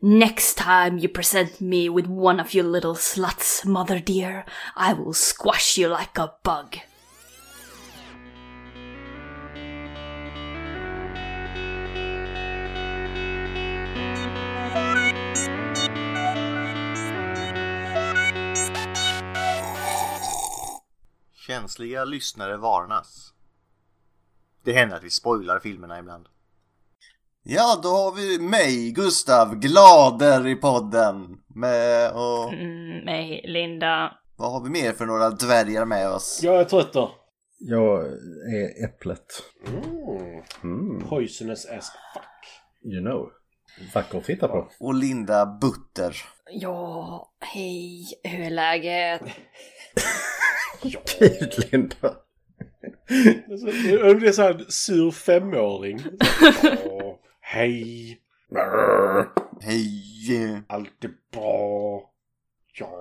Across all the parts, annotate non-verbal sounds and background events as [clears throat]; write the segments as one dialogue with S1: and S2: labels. S1: Next time you present me with one of you little sluts, mother dear, I will squash you like a bug.
S2: Känsliga lyssnare varnas. Det händer att vi spoilar filmerna ibland.
S3: Ja, då har vi mig, Gustav Glader i podden. Med och
S1: Mm, mig, Linda.
S3: vad har vi mer för några dvärgar med oss?
S4: Jag är trött då.
S5: Jag är äpplet. Mm,
S4: Poisonous as fuck.
S5: you know. Vacker att titta på. [laughs]
S3: Och Linda Butter.
S1: Ja, hej, hur är läget?
S5: Gud, Linda.
S4: Alltså, jag blir så här en sur femåring. Åh, Hej!
S3: Hej!
S4: Allt är bra. Ja,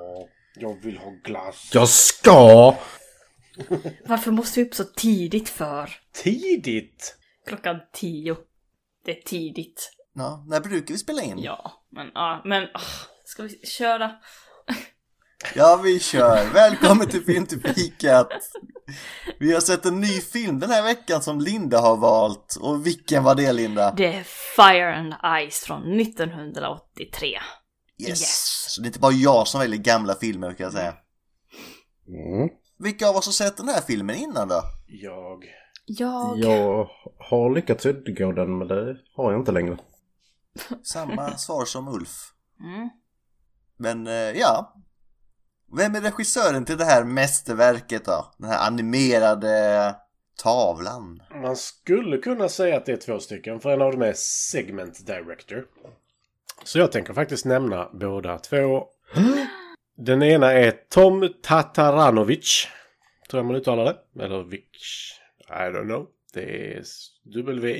S4: jag vill ha glass.
S5: Jag ska!
S1: Varför måste vi upp så tidigt för?
S4: Tidigt!
S1: Klockan tio. Det är tidigt.
S3: Ja, när brukar vi spela in?
S1: Ja, men ja, men ah, ska vi köra?
S3: Ja, vi kör! Välkommen till Film till fikat! Vi har sett en ny film den här veckan som Linda har valt. Och vilken var det, Linda?
S1: Det är Fire and Ice från 1983.
S3: Yes!
S1: Yes.
S3: Så det är inte bara jag som väljer gamla filmer, kan jag säga.
S5: Mm.
S3: Vilka av oss har sett den här filmen innan då?
S4: Jag...
S1: Jag...
S5: Jag har lyckats undgå den, men det har jag inte längre.
S3: Samma svar som Ulf.
S1: Mm.
S3: Men eh, ja. Vem är regissören till det här mästerverket då? Den här animerade tavlan.
S4: Man skulle kunna säga att det är två stycken, för en av dem är Segment Director. Så jag tänker faktiskt nämna båda två. Den ena är Tom Tataranovic. Tror jag man uttalar det. Eller Vic. I don't know. Det är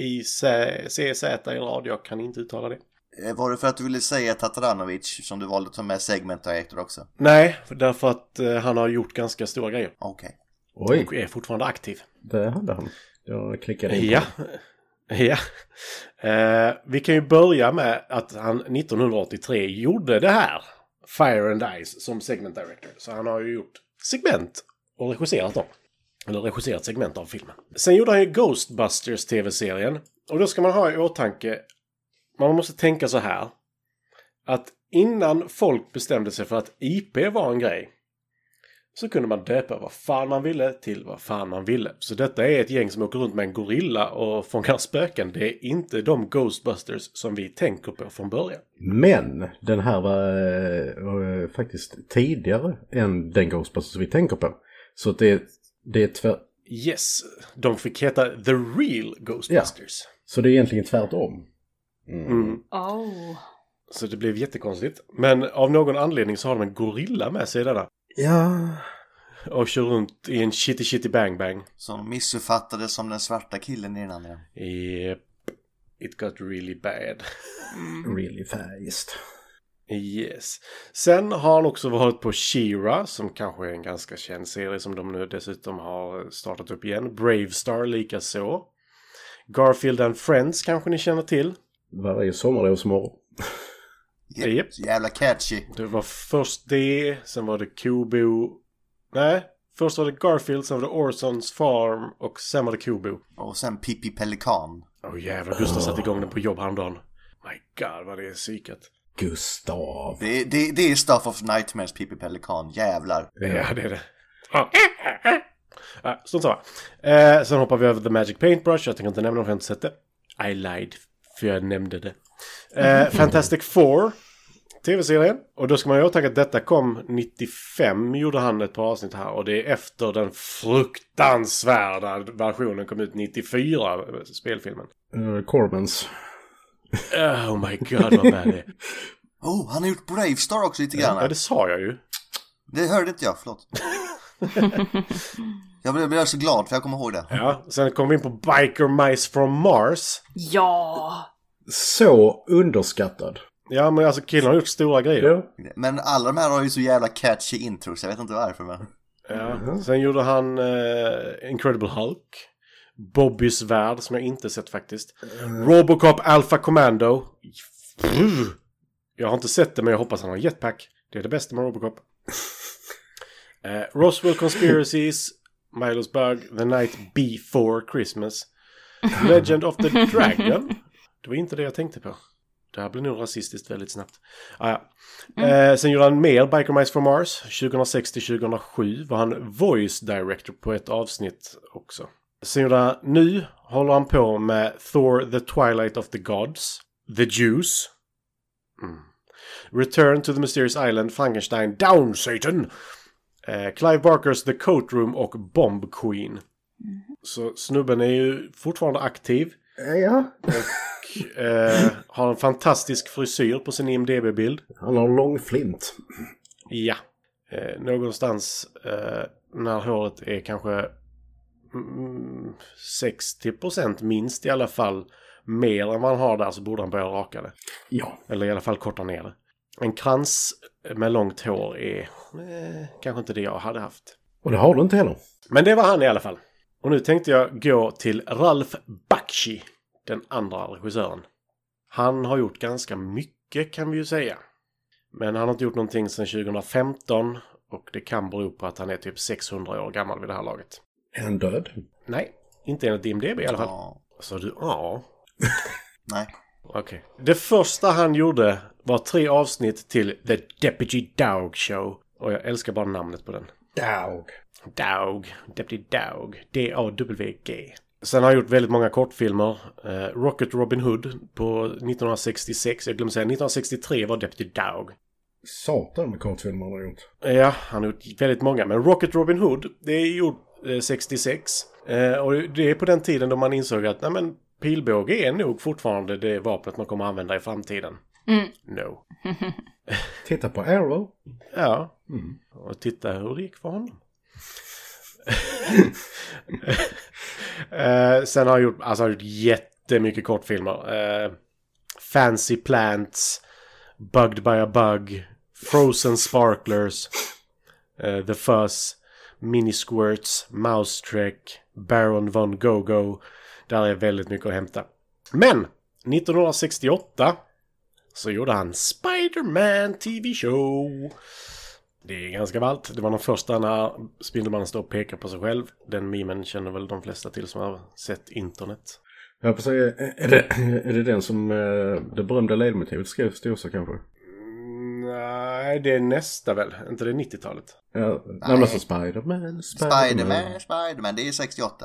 S4: W-I-C-Z i rad. Jag kan inte uttala det.
S3: Eh, Var det för att du ville säga Tataranovic som du valde att ta med segment director också?
S4: Nej, därför att eh, han har gjort ganska stora grejer.
S3: Okej.
S5: Oj,
S4: Och är fortfarande aktiv.
S5: det hade han. Jag klickade in på
S4: Ja. [laughs] ja. Eh, vi kan ju börja med att han 1983 gjorde det här. Fire and Ice som segment director. Så han har ju gjort segment och regisserat dem. Eller regisserat segment av filmen. Sen gjorde han ju Ghostbusters tv-serien. Och då ska man ha i åtanke. Man måste tänka så här. Att innan folk bestämde sig för att IP var en grej så kunde man döpa vad fan man ville till vad fan man ville. Så detta är ett gäng som åker runt med en gorilla och fångar spöken. Det är inte de Ghostbusters som vi tänker på från början.
S5: Men den här var eh, var, eh, faktiskt tidigare än den Ghostbusters vi tänker på. Så att det, det är tvär,
S4: Yes, de fick heta The Real Ghostbusters.
S5: Så det är egentligen tvärtom.
S4: Mm.
S1: Oh.
S4: Så det blev jättekonstigt. Men av någon anledning så har de en gorilla med sig i denna.
S5: Ja.
S4: Och kör runt i en shitty shitty bang bang.
S3: Som missuppfattades som den svarta killen i den andra.
S4: Yep. It got really bad.
S1: Mm.
S5: Really fast.
S4: Yes. Sen har han också varit på She-Ra som kanske är en ganska känd serie som de nu dessutom har startat upp igen. Brave Star likaså. Garfield and Friends kanske ni känner till.
S5: Varje sommarlovsmorgon.
S3: Ja,
S4: Japp.
S3: Så jävla catchy.
S4: Det var först det, sen var det Kobo. Nej, först var det Garfield, sen var det Orsons Farm och sen var det Kobo.
S3: Och sen Pippi Pelikan.
S4: Åh jävlar, Gustav satte igång den på jobb häromdagen. My God vad det är psykat.
S5: Gustav.
S3: Det, det, det är Stuff of Nightmares Pippi Pelikan, jävlar.
S4: Ja, det är det. Ja. Ja, Strunt samma. Eh, sen hoppar vi över The Magic Paintbrush. Jag tänker inte nämna dem för jag har inte sett det. I lied, för jag nämnde det. Eh, Fantastic Four, tv-serien. Och då ska man ju ha i åtanke att detta kom 95, gjorde han ett par avsnitt här. Och det är efter den fruktansvärda versionen kom ut 94, eh, spelfilmen.
S5: Uh, Cormans.
S4: Oh my god, vad bad det är.
S3: Oh, han har gjort Brave Star också lite grann.
S4: Ja, det sa jag ju.
S3: Det hörde inte jag, förlåt. jag blev, blev så glad för jag kommer ihåg det.
S4: Ja, sen kom vi in på Biker Mice from Mars.
S1: Ja!
S5: Så underskattad.
S4: Ja, men alltså killen har gjort stora grejer.
S5: Ja.
S3: Men alla de här har ju så jävla catchy intros, jag vet inte varför men.
S4: Ja. Sen gjorde han eh, Incredible Hulk. Bobbys värld, som jag inte sett faktiskt. Robocop Alpha Commando. Pff, Jag har inte sett det men jag hoppas han har jetpack. Det är det bästa med Robocop. eh, Roswell Conspiracies, Milos Bug, The Night Before Christmas, Legend of the Dragon. Det var inte det jag tänkte på. Det här blir nog rasistiskt väldigt snabbt. Ah, ja. eh, sen gjorde han mer Biker Mice from Mars. 2006 till 2007 var han voice director på ett avsnitt också. Sen gjorde han, nu håller han på med Thor the Twilight of the Gods, The Jews, Return to the Mysterious Island, Frankenstein, Down Satan, eh, Clive Barkers The Coat Room och Bomb Queen. Så snubben är ju fortfarande aktiv.
S5: Ja.
S4: Och, eh, har en fantastisk frisyr på sin IMDB-bild.
S5: Han har lång flint.
S4: Ja. Eh, någonstans eh, när håret är kanske mm, 60% minst i alla fall mer än man har där så borde han börja raka det.
S5: Ja.
S4: Eller i alla fall korta ner det. En krans med långt hår är eh, kanske inte det jag hade haft.
S5: Och det har du inte heller.
S4: Men det var han i alla fall. Och nu tänkte jag gå till Ralf Bakshi, den andra regissören. Han har gjort ganska mycket kan vi ju säga. Men han har inte gjort någonting sedan 2015 och det kan bero på att han är typ 600 år gammal vid det här laget.
S5: Är han död?
S4: Nej, inte enligt IMDB i alla fall.
S3: Ja,
S4: Så du, ja,
S3: nej.
S4: Okej. Det första han gjorde var tre avsnitt till The Deputy Dog Show. Och jag älskar bara namnet på den.
S5: Dog.
S4: Dog. Deputy Dog. D-A-W-G. Sen har han gjort väldigt många kortfilmer. Eh, Rocket Robin Hood på 1966. Jag glömde säga 1963 var Deputy Dog. Eh,
S5: Satan med kortfilmer han har gjort.
S4: Ja, han har gjort väldigt många. Men Rocket Robin Hood, det är gjort eh, 66. Eh, och det är på den tiden då man insåg att nej, men, pilbåge är nog fortfarande det vapnet man kommer att använda i framtiden. No.
S5: Titta på Arrow.
S4: Ja. Och titta hur det gick för honom. [laughs] eh, sen har han gjort, alltså, han har gjort jättemycket kortfilmer. Eh, Fancy Plants, Bugged by a Bug, Frozen Sparklers, eh, The Fuzz, Minisquirts, Mousetrack, Baron von Go-Go. Där är väldigt mycket att hämta. Men 1968 så gjorde han Spider-Man TV Show. Det är ganska ballt. Det var den första när Spindelmannen står och pekar på sig själv. Den memen känner väl de flesta till som har sett internet.
S5: Jag höll på att säga, är det, är det den som eh, det berömda ledmotivet skrevs till också kanske?
S4: Nej, det är nästa väl. Inte det 90-talet.
S5: Ja, närmast som Spiderman,
S3: Spiderman, Spiderman, det är 68.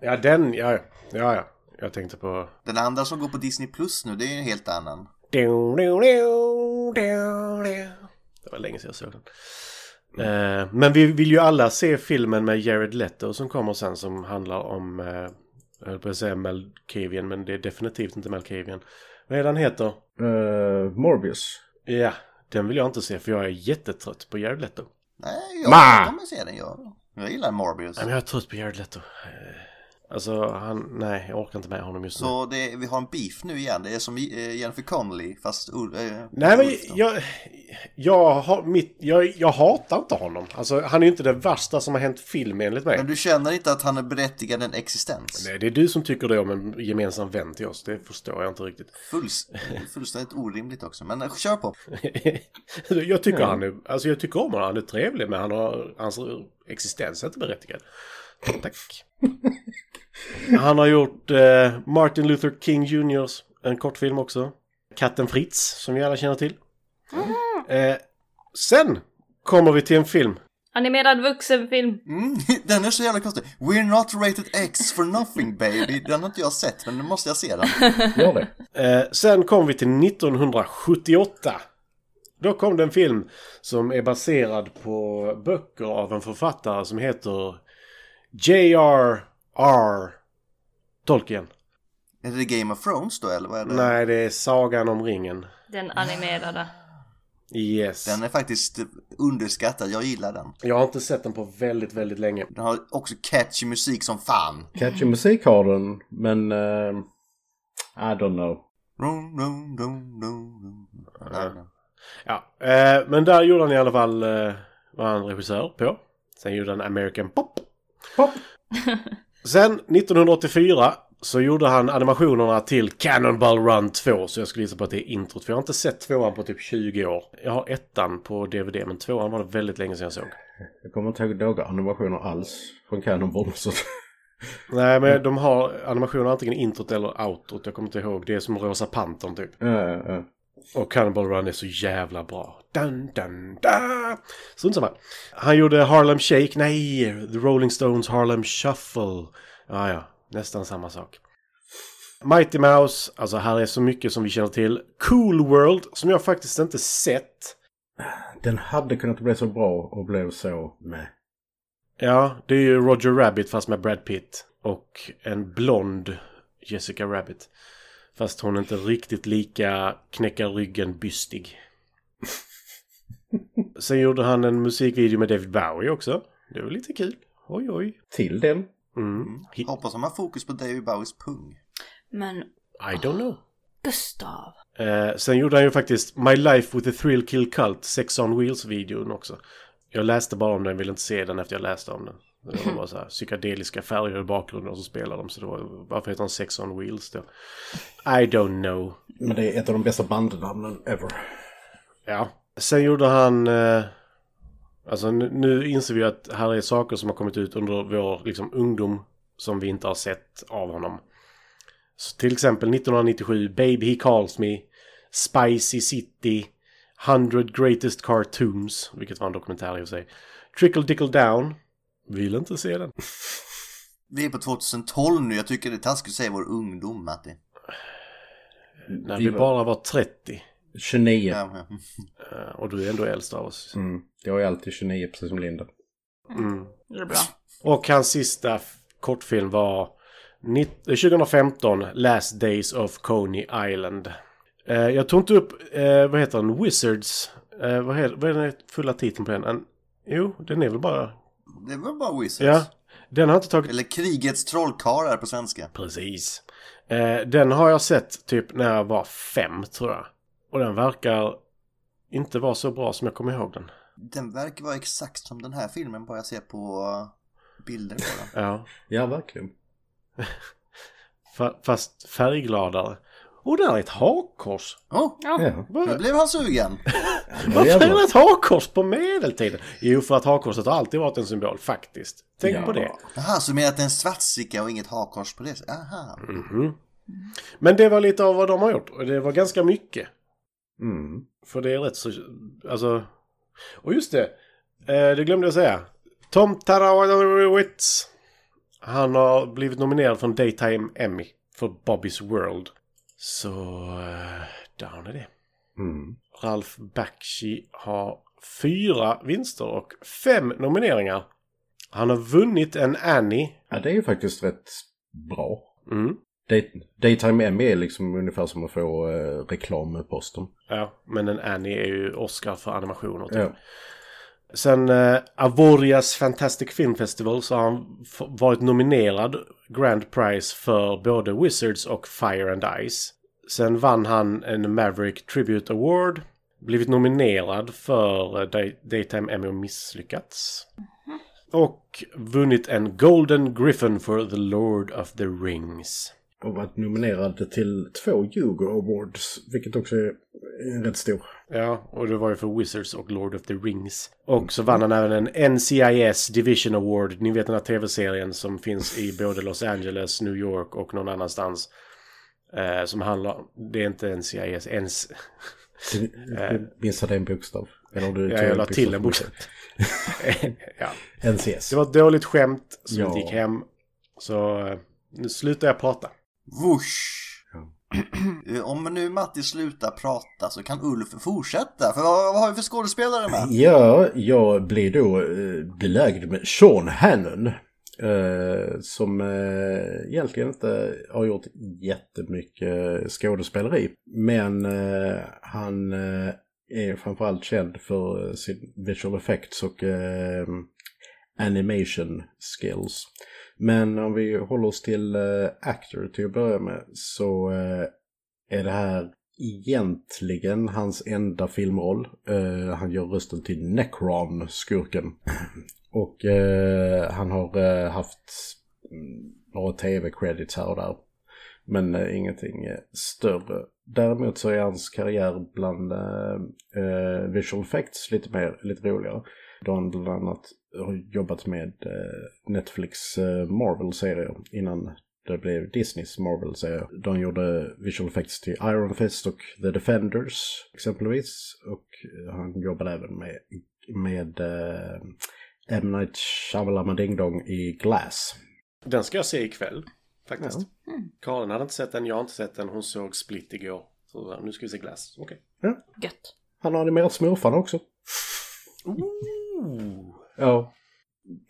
S4: Ja, den. Ja, ja. ja, ja. Jag tänkte på...
S3: Den andra som går på Disney Plus nu, det är en helt annan.
S4: Det var länge sedan jag såg den. Eh, Men vi vill ju alla se filmen med Jared Leto som kommer sen som handlar om... eh, Jag höll på att säga Melkavian, men det är definitivt inte Melkavian. Vad är det han heter?
S5: Eh, Morbius.
S4: Ja, den vill jag inte se för jag är jättetrött på Jared Leto.
S3: Nej, jag
S4: Ma!
S3: kommer se den jag. Jag gillar Morbius.
S4: Nej, men jag är trött på Jared Leto. Eh, Alltså, han... Nej, jag orkar inte med honom just nu.
S3: Så det, vi har en beef nu igen. Det är som eh, Jennifer Connelly fast... Ur, eh,
S4: Nej,
S3: Ulf då.
S4: men jag... Jag, har, mitt, jag, jag hatar inte honom. Alltså, han är ju inte det värsta som har hänt film enligt mig.
S3: Men du känner inte att han är berättigad en existens?
S4: Nej, det är du som tycker det om en gemensam vän till oss. Det förstår jag inte riktigt.
S3: Fulls, fullständigt orimligt också. Men eh, kör på.
S4: [laughs] jag tycker han är... Alltså, jag tycker om honom. Han är trevlig, men han har, hans existens är inte berättigad. Tack. Han har gjort eh, Martin Luther King Juniors, en kortfilm också. Katten Fritz, som vi alla känner till. Eh, sen kommer vi till en film.
S1: Animerad vuxenfilm.
S3: Mm, [laughs] den är så jävla konstig. We're not rated X for nothing baby. Den har inte jag sett, men nu måste jag se den.
S5: Gör det.
S4: Eh, sen kom vi till 1978. Då kom det en film som är baserad på böcker av en författare som heter J.R.R. Tolkien.
S3: Är det Game of Thrones då, eller vad är det?
S4: Nej, det är Sagan om ringen.
S1: Den animerade.
S4: Yes.
S3: Den är faktiskt underskattad. Jag gillar den.
S4: Jag har inte sett den på väldigt, väldigt länge.
S3: Den har också catchy musik som fan.
S5: Catchy musik har den, men... eh, I don't know.
S3: Rum, rum, rum, rum, rum. Nej, nej.
S4: Ja, eh, men där gjorde han i alla fall, eh, var han regissör på. Sen gjorde han American Pop.
S5: Pop.
S4: Sen 1984 så gjorde han animationerna till Cannonball Run 2. Så jag skulle gissa på att det är introt. För jag har inte sett tvåan på typ 20 år. Jag har ettan på DVD, men tvåan var det väldigt länge sedan jag såg.
S5: Jag kommer inte ihåg några animationer alls från Cannonball. Så... [laughs]
S4: Nej, men de har animationer antingen introt eller outrot. Jag kommer inte ihåg. Det är som Rosa Pantern typ.
S5: Ja, ja, ja.
S4: Och Cannonball Run är så jävla bra. Dun, dun, da. Strunt samma. Han gjorde Harlem Shake. Nej, The Rolling Stones Harlem Shuffle. Ja, ja. Nästan samma sak. Mighty Mouse. Alltså här är så mycket som vi känner till. Cool World, som jag faktiskt inte sett.
S5: Den hade kunnat bli så bra och blev så med.
S4: Ja, det är ju Roger Rabbit fast med Brad Pitt. Och en blond Jessica Rabbit. Fast hon är inte riktigt lika knäcka ryggen bystig. Sen gjorde han en musikvideo med David Bowie också. Det var lite kul. Oj, oj.
S5: Till den.
S4: Mm. He-
S6: Hoppas de har fokus på David Bowies pung.
S1: Men
S4: I don't know.
S1: Gustav.
S4: Eh, sen gjorde han ju faktiskt My Life with the Thrill Kill Cult, Sex on Wheels-videon också. Jag läste bara om den, ville inte se den efter jag läste om den. Det var bara så här, psykedeliska färger i bakgrunden och så spelar de. Så det var, varför heter han Sex on Wheels då? I don't know.
S5: Men det är ett av de bästa bandnamnen ever.
S4: Ja. Sen gjorde han... Eh, alltså nu, nu inser vi att här är saker som har kommit ut under vår liksom, ungdom som vi inte har sett av honom. Så till exempel 1997, Baby He Calls Me, Spicy City, 100 Greatest Cartoons, vilket var en dokumentär i och för sig. Trickle Dickle Down, vill inte se den.
S6: Vi är på 2012 nu, jag tycker det är taskigt att säga vår ungdom, Matti.
S4: När
S5: Vi
S4: vi
S5: var-
S4: bara var 30.
S5: 29.
S6: Ja, ja.
S4: eh, Och du är ändå äldst av oss.
S5: Mm. Jag är alltid 29 precis som Linda.
S1: Det är bra.
S4: Och hans sista f- kortfilm var nitt- 2015, Last Days of Coney Island. Eh, jag tog inte upp, eh, vad heter den, Wizards? Eh, vad, heter, vad är den fulla titeln på den? En, jo, den är väl bara...
S6: Det var bara Wizards.
S4: Ja, den har jag inte tagit
S6: Eller Krigets trollkarlar på svenska.
S4: Precis. Eh, den har jag sett typ när jag var fem, tror jag. Och den verkar inte vara så bra som jag kommer ihåg den.
S6: Den verkar vara exakt som den här filmen, bara jag ser på eh, bilder på den.
S4: Ja.
S5: Ja, verkligen.
S4: Fa- fast färggladare. Och där är ett hakkors.
S6: Åh,
S5: Ja.
S4: Vad-
S6: nu blev han sugen!
S4: Varför är det ett hakkors på medeltiden? Jo, för att hakkorset har alltid varit en symbol, faktiskt. Tänk på det.
S6: Jaha, så menar att det är en svartsicka och inget hakkors på det sättet? Aha.
S4: Mhm. Men det var lite av vad de har gjort. Och det var ganska mycket.
S5: Mm.
S4: För det är rätt så... Alltså... Och just det! Eh, det glömde jag säga. Tom Tarawitz. Han har blivit nominerad för en Daytime Emmy för Bobby's World. Så... Eh, där har ni det.
S5: Mm.
S4: Ralf Bakshi har fyra vinster och fem nomineringar. Han har vunnit en Annie.
S5: Ja, det är ju faktiskt rätt bra.
S4: Mm.
S5: Day- Daytime Emmy är liksom ungefär som att få eh, reklam med posten.
S4: Ja, men en Annie är ju Oscar för animationer. Typ.
S5: Ja.
S4: Sen eh, Avorias Fantastic Film Festival så har han f- varit nominerad Grand Prize för både Wizards och Fire and Ice. Sen vann han en Maverick Tribute Award. Blivit nominerad för eh, Day- Daytime Emmy och misslyckats. Och vunnit en Golden Griffin för The Lord of the Rings.
S5: Och varit nominerad till två Hugo Awards, vilket också är en rätt stor.
S4: Ja, och det var ju för Wizards och Lord of the Rings. Och så vann han även en NCIS Division Award. Ni vet den här tv-serien som finns i både Los Angeles, New York och någon annanstans. Eh, som handlar... Det är inte NCIS, ens...
S5: Du- Du missade en bokstav. Eller
S4: Eh.
S5: du
S4: Ja,
S5: tog
S4: jag la till en bokstav. [laughs] ja.
S5: NCS.
S4: Det var ett dåligt skämt som
S5: Ja.
S4: inte gick hem. Så eh, nu slutar jag prata.
S6: Whoosh! Eh, Om nu Matti slutar prata så kan Ulf fortsätta, för vad, vad har vi för skådespelare med?
S5: Ja, jag blir då eh, belägd med Sean Hannon. Eh, som eh, egentligen inte har gjort jättemycket skådespeleri. Men eh, han eh, är framförallt känd för eh, sin visual effects och eh, animation skills. Men om vi håller oss till eh, actor till att börja med så eh, är det här egentligen hans enda filmroll. Eh, han gör rösten till Necron, skurken. [clears throat] Och eh, han har eh, haft mm, några tv-credits här och där. Men eh, ingenting eh, större. Däremot så är hans karriär bland eh, eh, visual effects lite, mer, lite roligare. Då han bland annat har jobbat med eh, Netflix eh, Marvel-serier innan det blev Disneys Marvel-serier. Då han gjorde visual effects till Iron Fist och The Defenders exempelvis. Och eh, han jobbade även med, med eh, M. Night Shyamalan Ding Dong i Glass.
S4: Den ska jag se ikväll, faktiskt. Karin hade inte sett den, jag har inte sett den. Hon såg Split igår. Så nu ska vi se Glass. Okej.
S1: Gött.
S5: Han har animerat Smurfarna också. Ja.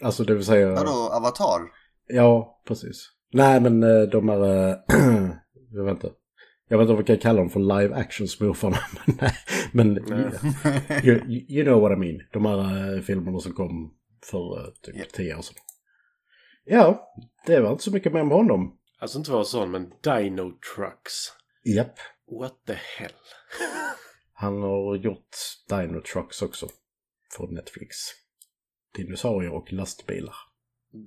S5: Alltså det vill säga...
S6: Vadå,
S4: [laughs]
S6: avatar?
S5: Ja, precis. Nej, men eh, de är... eh, [clears throat] jag vet inte. Jag vet inte om vi kan kalla dem för live action smurfarna. [laughs] Men, nej, men you, you know what I mean. De här eh, filmerna som kom för eh, typ
S6: Ja.
S5: tio år sedan. Ja, det var inte så mycket mer om honom.
S4: Alltså inte vara sån, men Dino Trucks.
S5: Japp.
S4: What the hell?
S5: Han har gjort Dino Trucks också. För Netflix. Dinosaurier och lastbilar.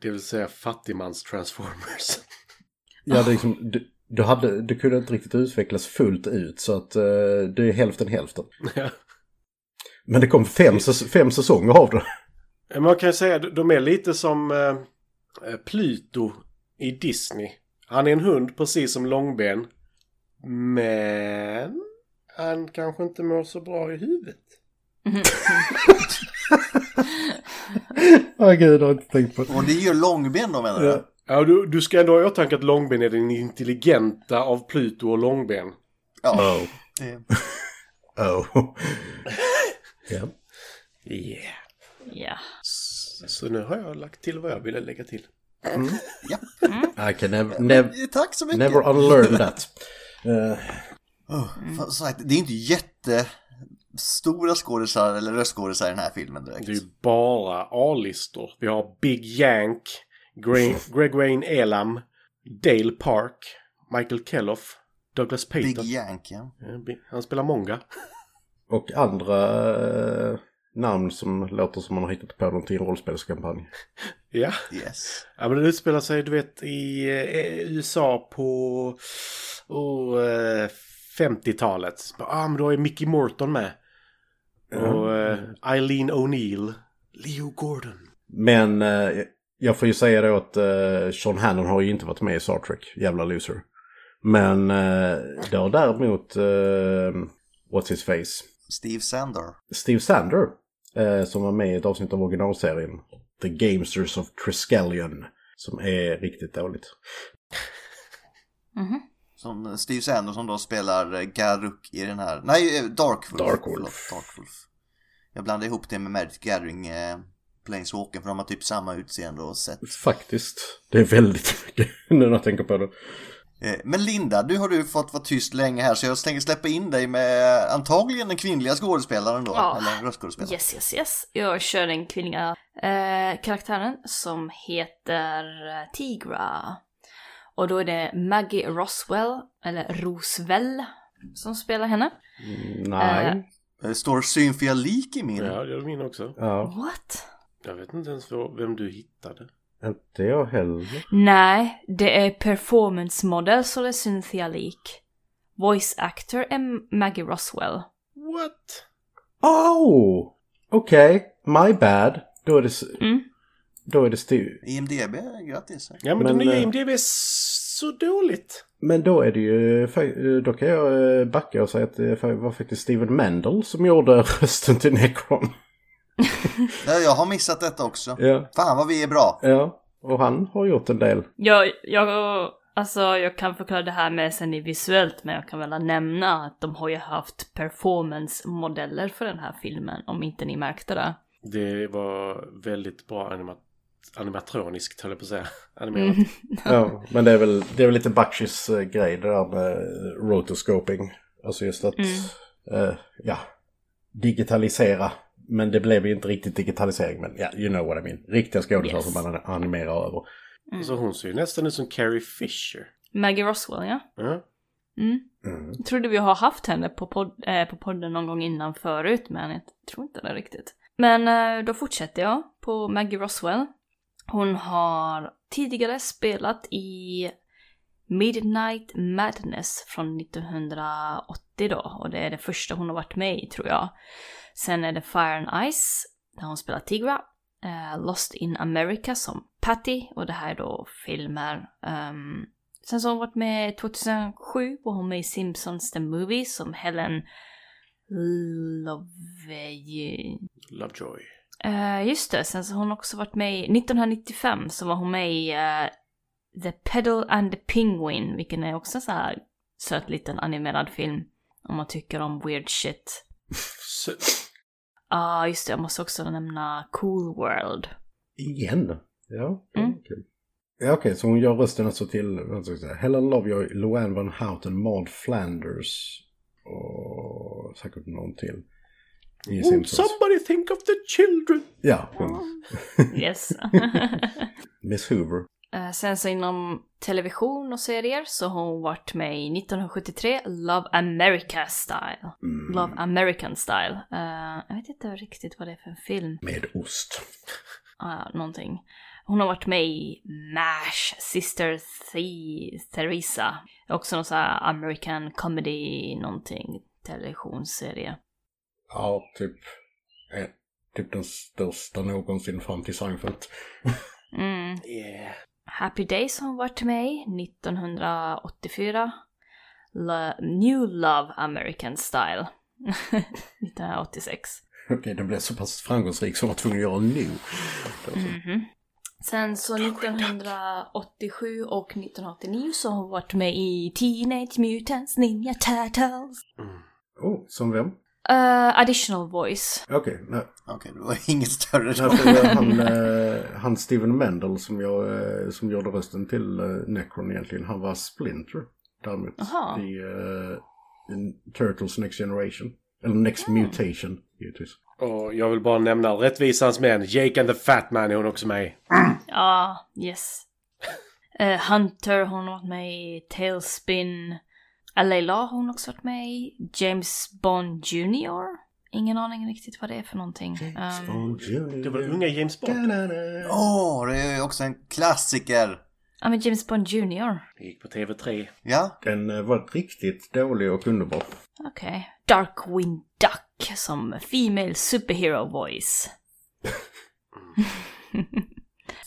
S4: Det vill säga fattigmans Transformers.
S5: Ja, det är liksom, du, du, hade, du kunde inte riktigt utvecklas fullt ut så att eh, det är hälften hälften.
S4: [laughs] Ja.
S5: Men det kom fem, säs- fem säsonger av det.
S4: Men Man kan ju säga att de är lite som eh, Pluto i Disney. Han är en hund precis som Långben. Men han kanske inte mår så bra i huvudet.
S5: Åh gud, det har jag inte tänkt på.
S6: Och det är ju långben då menar du?
S4: Ja, du, du ska ändå ha i åtanke att Långben är den intelligenta av Pluto och Långben.
S6: Ja.
S5: Oh.
S6: Det-
S5: Oh. ja.
S4: Yeah.
S1: Ja.
S4: Så, så nu har jag lagt till vad jag ville lägga till.
S5: I can never, nev-
S6: Eh, Tack så mycket!
S5: never unlearn that. Eh,
S6: Oh, fan, som sagt, det är inte jättestora skådisar eller röstskådisar i den här filmen direkt.
S4: Det är ju bara A-listor. Vi har Big Yank, Gre- Greg Wayne Elam, Dale Park, Michael Kelloff, Douglas
S6: Big
S4: Payton.
S6: Yank, ja.
S4: Ja, Bi- Han spelar många.
S5: och andra eh, namn som låter som man har hittat på dem till en rollspelskampanj.
S4: Ja.
S6: Yes.
S4: ja, men det utspelar sig du vet i eh, USA på oh, eh, 50-talet. Ah, men då är Mickey Morton med. Och eh, Eileen O'Neill. Leo Gordon.
S5: Men eh, jag får ju säga då att eh, Sean Hannon har ju inte varit med i Star Trek, jävla loser. Men eh, det har däremot, eh, what's his face,
S6: Steve Sander.
S5: Steve Sander, eh, som var med i ett avsnitt av originalserien The Gamesters of Triskelion, som är riktigt dåligt.
S1: Mhm.
S6: Som Steve Sander som då spelar eh, Garuk i den här, nej eh, Dark Wolf.
S5: Dark Wolf.
S6: Förlåt, Dark Wolf. Jag blandade ihop det med Magic Gathering eh, Planeswalker för de har typ samma utseende och sätt.
S5: Faktiskt, det är väldigt mycket [laughs] nu när jag tänker på det.
S6: Eh, Men Linda, nu har du fått vara tyst länge här så jag tänker släppa in dig med eh, antagligen den kvinnliga skådespelaren då,
S1: Ja.
S6: eller röstskådespelaren.
S1: Yes, yes, yes. Jag kör den kvinnliga eh, karaktären som heter eh, Tigra. Och då är det Maggie Roswell, eller Roswell, som spelar henne.
S5: Mm, Nej.
S1: Eh.
S6: Eh, Står Cynthia Leak i min?
S4: Ja, det är min också.
S5: Ja,
S1: What?
S4: Jag vet inte ens vad- vem du hittade.
S5: inte jag heller.
S1: Nej, det är performance model så det är Cynthia Leak. Voice actor är Maggie Roswell.
S4: What?
S5: Oh! Okej, my bad. Då är det, s-
S1: Mm.
S5: då är det Steve.
S6: IMDB, grattis.
S4: Ja, men,
S5: Men,
S4: det nya
S5: eh,
S4: IMDB är så dåligt.
S5: Men då är det ju, fa- då kan jag eh, backa och säga att det fa- var faktiskt Steven Mendel som gjorde [laughs] rösten till Necron.
S6: Ja, jag har missat detta också.
S5: Ja.
S6: Fan vad vi är bra.
S5: Ja, och han har gjort en del.
S1: Jag, jag, alltså, jag kan förklara det här med sen i visuellt, men jag kan väl nämna att de har ju haft performance-modeller för den här filmen, om inte ni märkte det.
S4: Det var väldigt bra anima- animatroniskt, höll jag på att säga. [laughs] Animerat.
S1: Mm.
S5: Ja, men det är väl, det är väl lite Bakshis eh, grej det där med eh, rotoscoping. Alltså just att,
S1: Mm.
S5: eh, ja, digitalisera. Men det blev ju inte riktigt digitalisering, men ja, you know what I mean. Riktiga skådisar
S1: Yes.
S5: som man animerar över.
S4: Så hon ser ju nästan ut som Carrie Fisher.
S1: Maggie Roswell, ja.
S4: Ja.
S1: Mm.
S5: Mm.
S1: Jag trodde vi har haft henne på, podd, eh, på podden någon gång innan förut, men jag tror inte det riktigt. Men eh, då fortsätter jag på Maggie Roswell. Hon har tidigare spelat i Midnight Madness från 1980 då och det är det första hon har varit med i tror jag. Sen är det Fire and Ice där hon spelar Tigra. eh, Lost in America som Patty och det här är då filmer. ehm, sen så har hon varit med 2007 var hon med i Simpsons The Movie som Helen Lovey.
S4: Lovejoy.
S1: Eh, just det, sen så har hon också varit med i, 1995 så var hon med i eh, The Pedal and the Penguin, vilken är också en så här söt liten animerad film. Om man tycker om weird shit.
S4: [laughs] Så,
S1: Ja, just det, jag måste också nämna Cool World.
S5: Igen? Ja,
S1: Mm.
S5: okej. Ja, okej, så hon gör rösten alltså till vad ska jag säga, Helen Lovejoy, Luann Van Houten, Maud Flanders och säkert någon till. I
S4: won't
S5: Simpsons.
S4: somebody think of the children?
S5: Ja, hon.
S1: Yes.
S5: Miss Hoover.
S1: Eh, sen så inom television och serier så har hon varit med i 1973 Love America Style.
S5: Mm.
S1: Love American Style. Eh, jag vet inte riktigt vad det är för en film.
S5: Med ost.
S1: Ja, någonting. Hon har varit med i MASH, Sister The- Theresa. Också någon sån här American comedy någonting televisionsserie.
S5: Ja, typ. eh, Typ den största någonsin fram till Seinfeld. [laughs]
S1: Mm.
S4: Yeah.
S1: Happy Days har hon varit med i, 1984. La- New Love American Style, [laughs] 1986.
S5: Okej, den blev så pass framgångsrik som jag var tvungen att göra en ny.
S1: Mhm. Sen så 1987 och 1989 så har hon varit med i Teenage Mutants Ninja Turtles.
S5: Oh, som vem?
S1: Eh, additional voice.
S5: Okej, nej.
S3: Okej,
S6: [laughs]
S3: det var inget större
S5: Nej, för det var han, eh, han Steven Mendel som, jag, eh, som gjorde rösten till eh, Necron egentligen, han var Splinter däremot
S1: Aha.
S5: i eh, in Turtles Next Generation. Eller Next Mutation, givetvis.
S4: Och jag vill bara nämna Rättvisans män. Jake and the Fat Man är hon också med i.
S1: Ja, yes. Eh, Hunter hon har varit med i, Tailspin. Alayla har hon också varit med i. James Bond Jr. Ingen aning riktigt vad det är för någonting. Ehm,
S4: Ah. Det
S5: Mm.
S4: var unga James Bond.
S3: Åh, det är ju också en klassiker!
S1: Ja men James Bond Jr.
S4: Det gick på TV3.
S3: Ja,
S5: Den eh, var riktigt dålig och underbar.
S1: Okej. Darkwing Duck som Female Superhero Voice.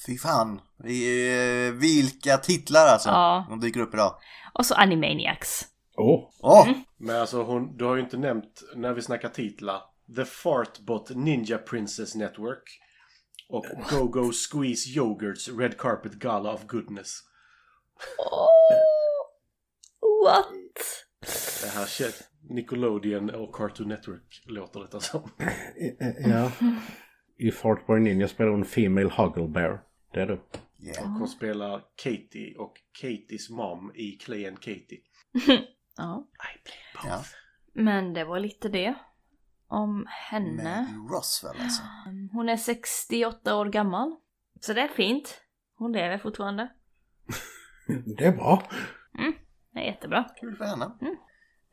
S3: fy fan. Vi, eh, vilka titlar alltså!
S1: Ja.
S3: De dyker upp idag.
S1: Och så Animaniacs.
S5: Åh,
S3: Åh!
S4: Men alltså hon, du har ju inte nämnt, när vi snackar titlar, The Fartbot Ninja Princess Network och Go Go Squeeze Yogurts Red Carpet Gala of Goodness.
S1: Oh, what?
S4: Det här känns... Nickelodeon och Cartoon Network låter alltså. detta som.
S5: eh, eh, ja. I Fartboy Ninja spelar hon Female Hugglebear. Det är du.
S3: Yeah.
S4: Hon spelar Katie och Katies mom i Clay and Katie.
S1: Ja.
S4: I play both.
S3: Ja.
S1: Men det var lite det. Om henne.
S3: Men Roswell alltså.
S1: Mm, Hon är 68 år gammal. Så det är fint. Hon lever fortfarande.
S5: Det är bra.
S1: Det är jättebra. [laughs]
S3: Kul för henne.
S1: Mm.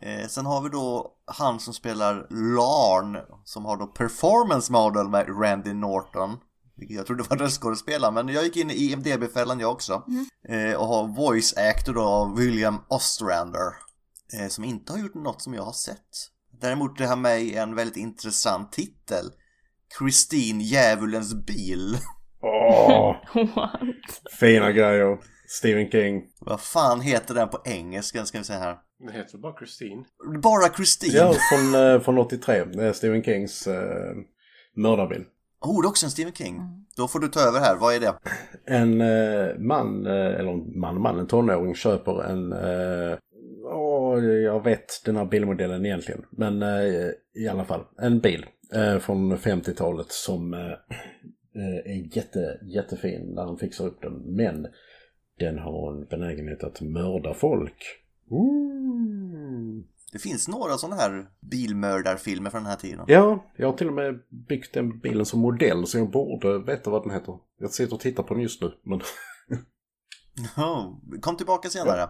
S3: Eh, sen har vi då han som spelar Larn som har då performance model med Randy Norton. Vilket jag trodde var röstskådespelaren men jag gick in i IMDB-fällan jag också. Eh, och har voice actor då av William Ostrander. Eh, som inte har gjort något som jag har sett. Däremot är han med i en väldigt intressant titel. Christine Djävulens bil. [laughs]
S5: Åh,
S1: What?
S5: fina grejer. Stephen King.
S3: Vad fan heter den på engelska ska vi säga här.
S4: Den heter bara Christine.
S3: Bara Christine.
S5: Ja, från, eh, från 83. Det är Stephen Kings eh, mördarbil.
S3: Oh, det är också en Stephen King. Då får du ta över här, vad är det?
S5: En eh, man, eh, eller en man, man, en tonåring köper en... Eh, åh, jag vet den här bilmodellen egentligen. Men eh, i alla fall, en bil eh, från 50-talet som eh, eh, är jätte, jättefin när han fixar upp den. Men den har en benägenhet att mörda folk.
S3: Det finns några sådana här bilmördarfilmer från den här tiden.
S5: Ja, jag har till och med byggt den bilen som modell så jag borde veta vad den heter. Jag sitter och tittar på den just nu.
S4: [laughs]
S5: Men...
S3: Ja, Oh, Kom tillbaka senare.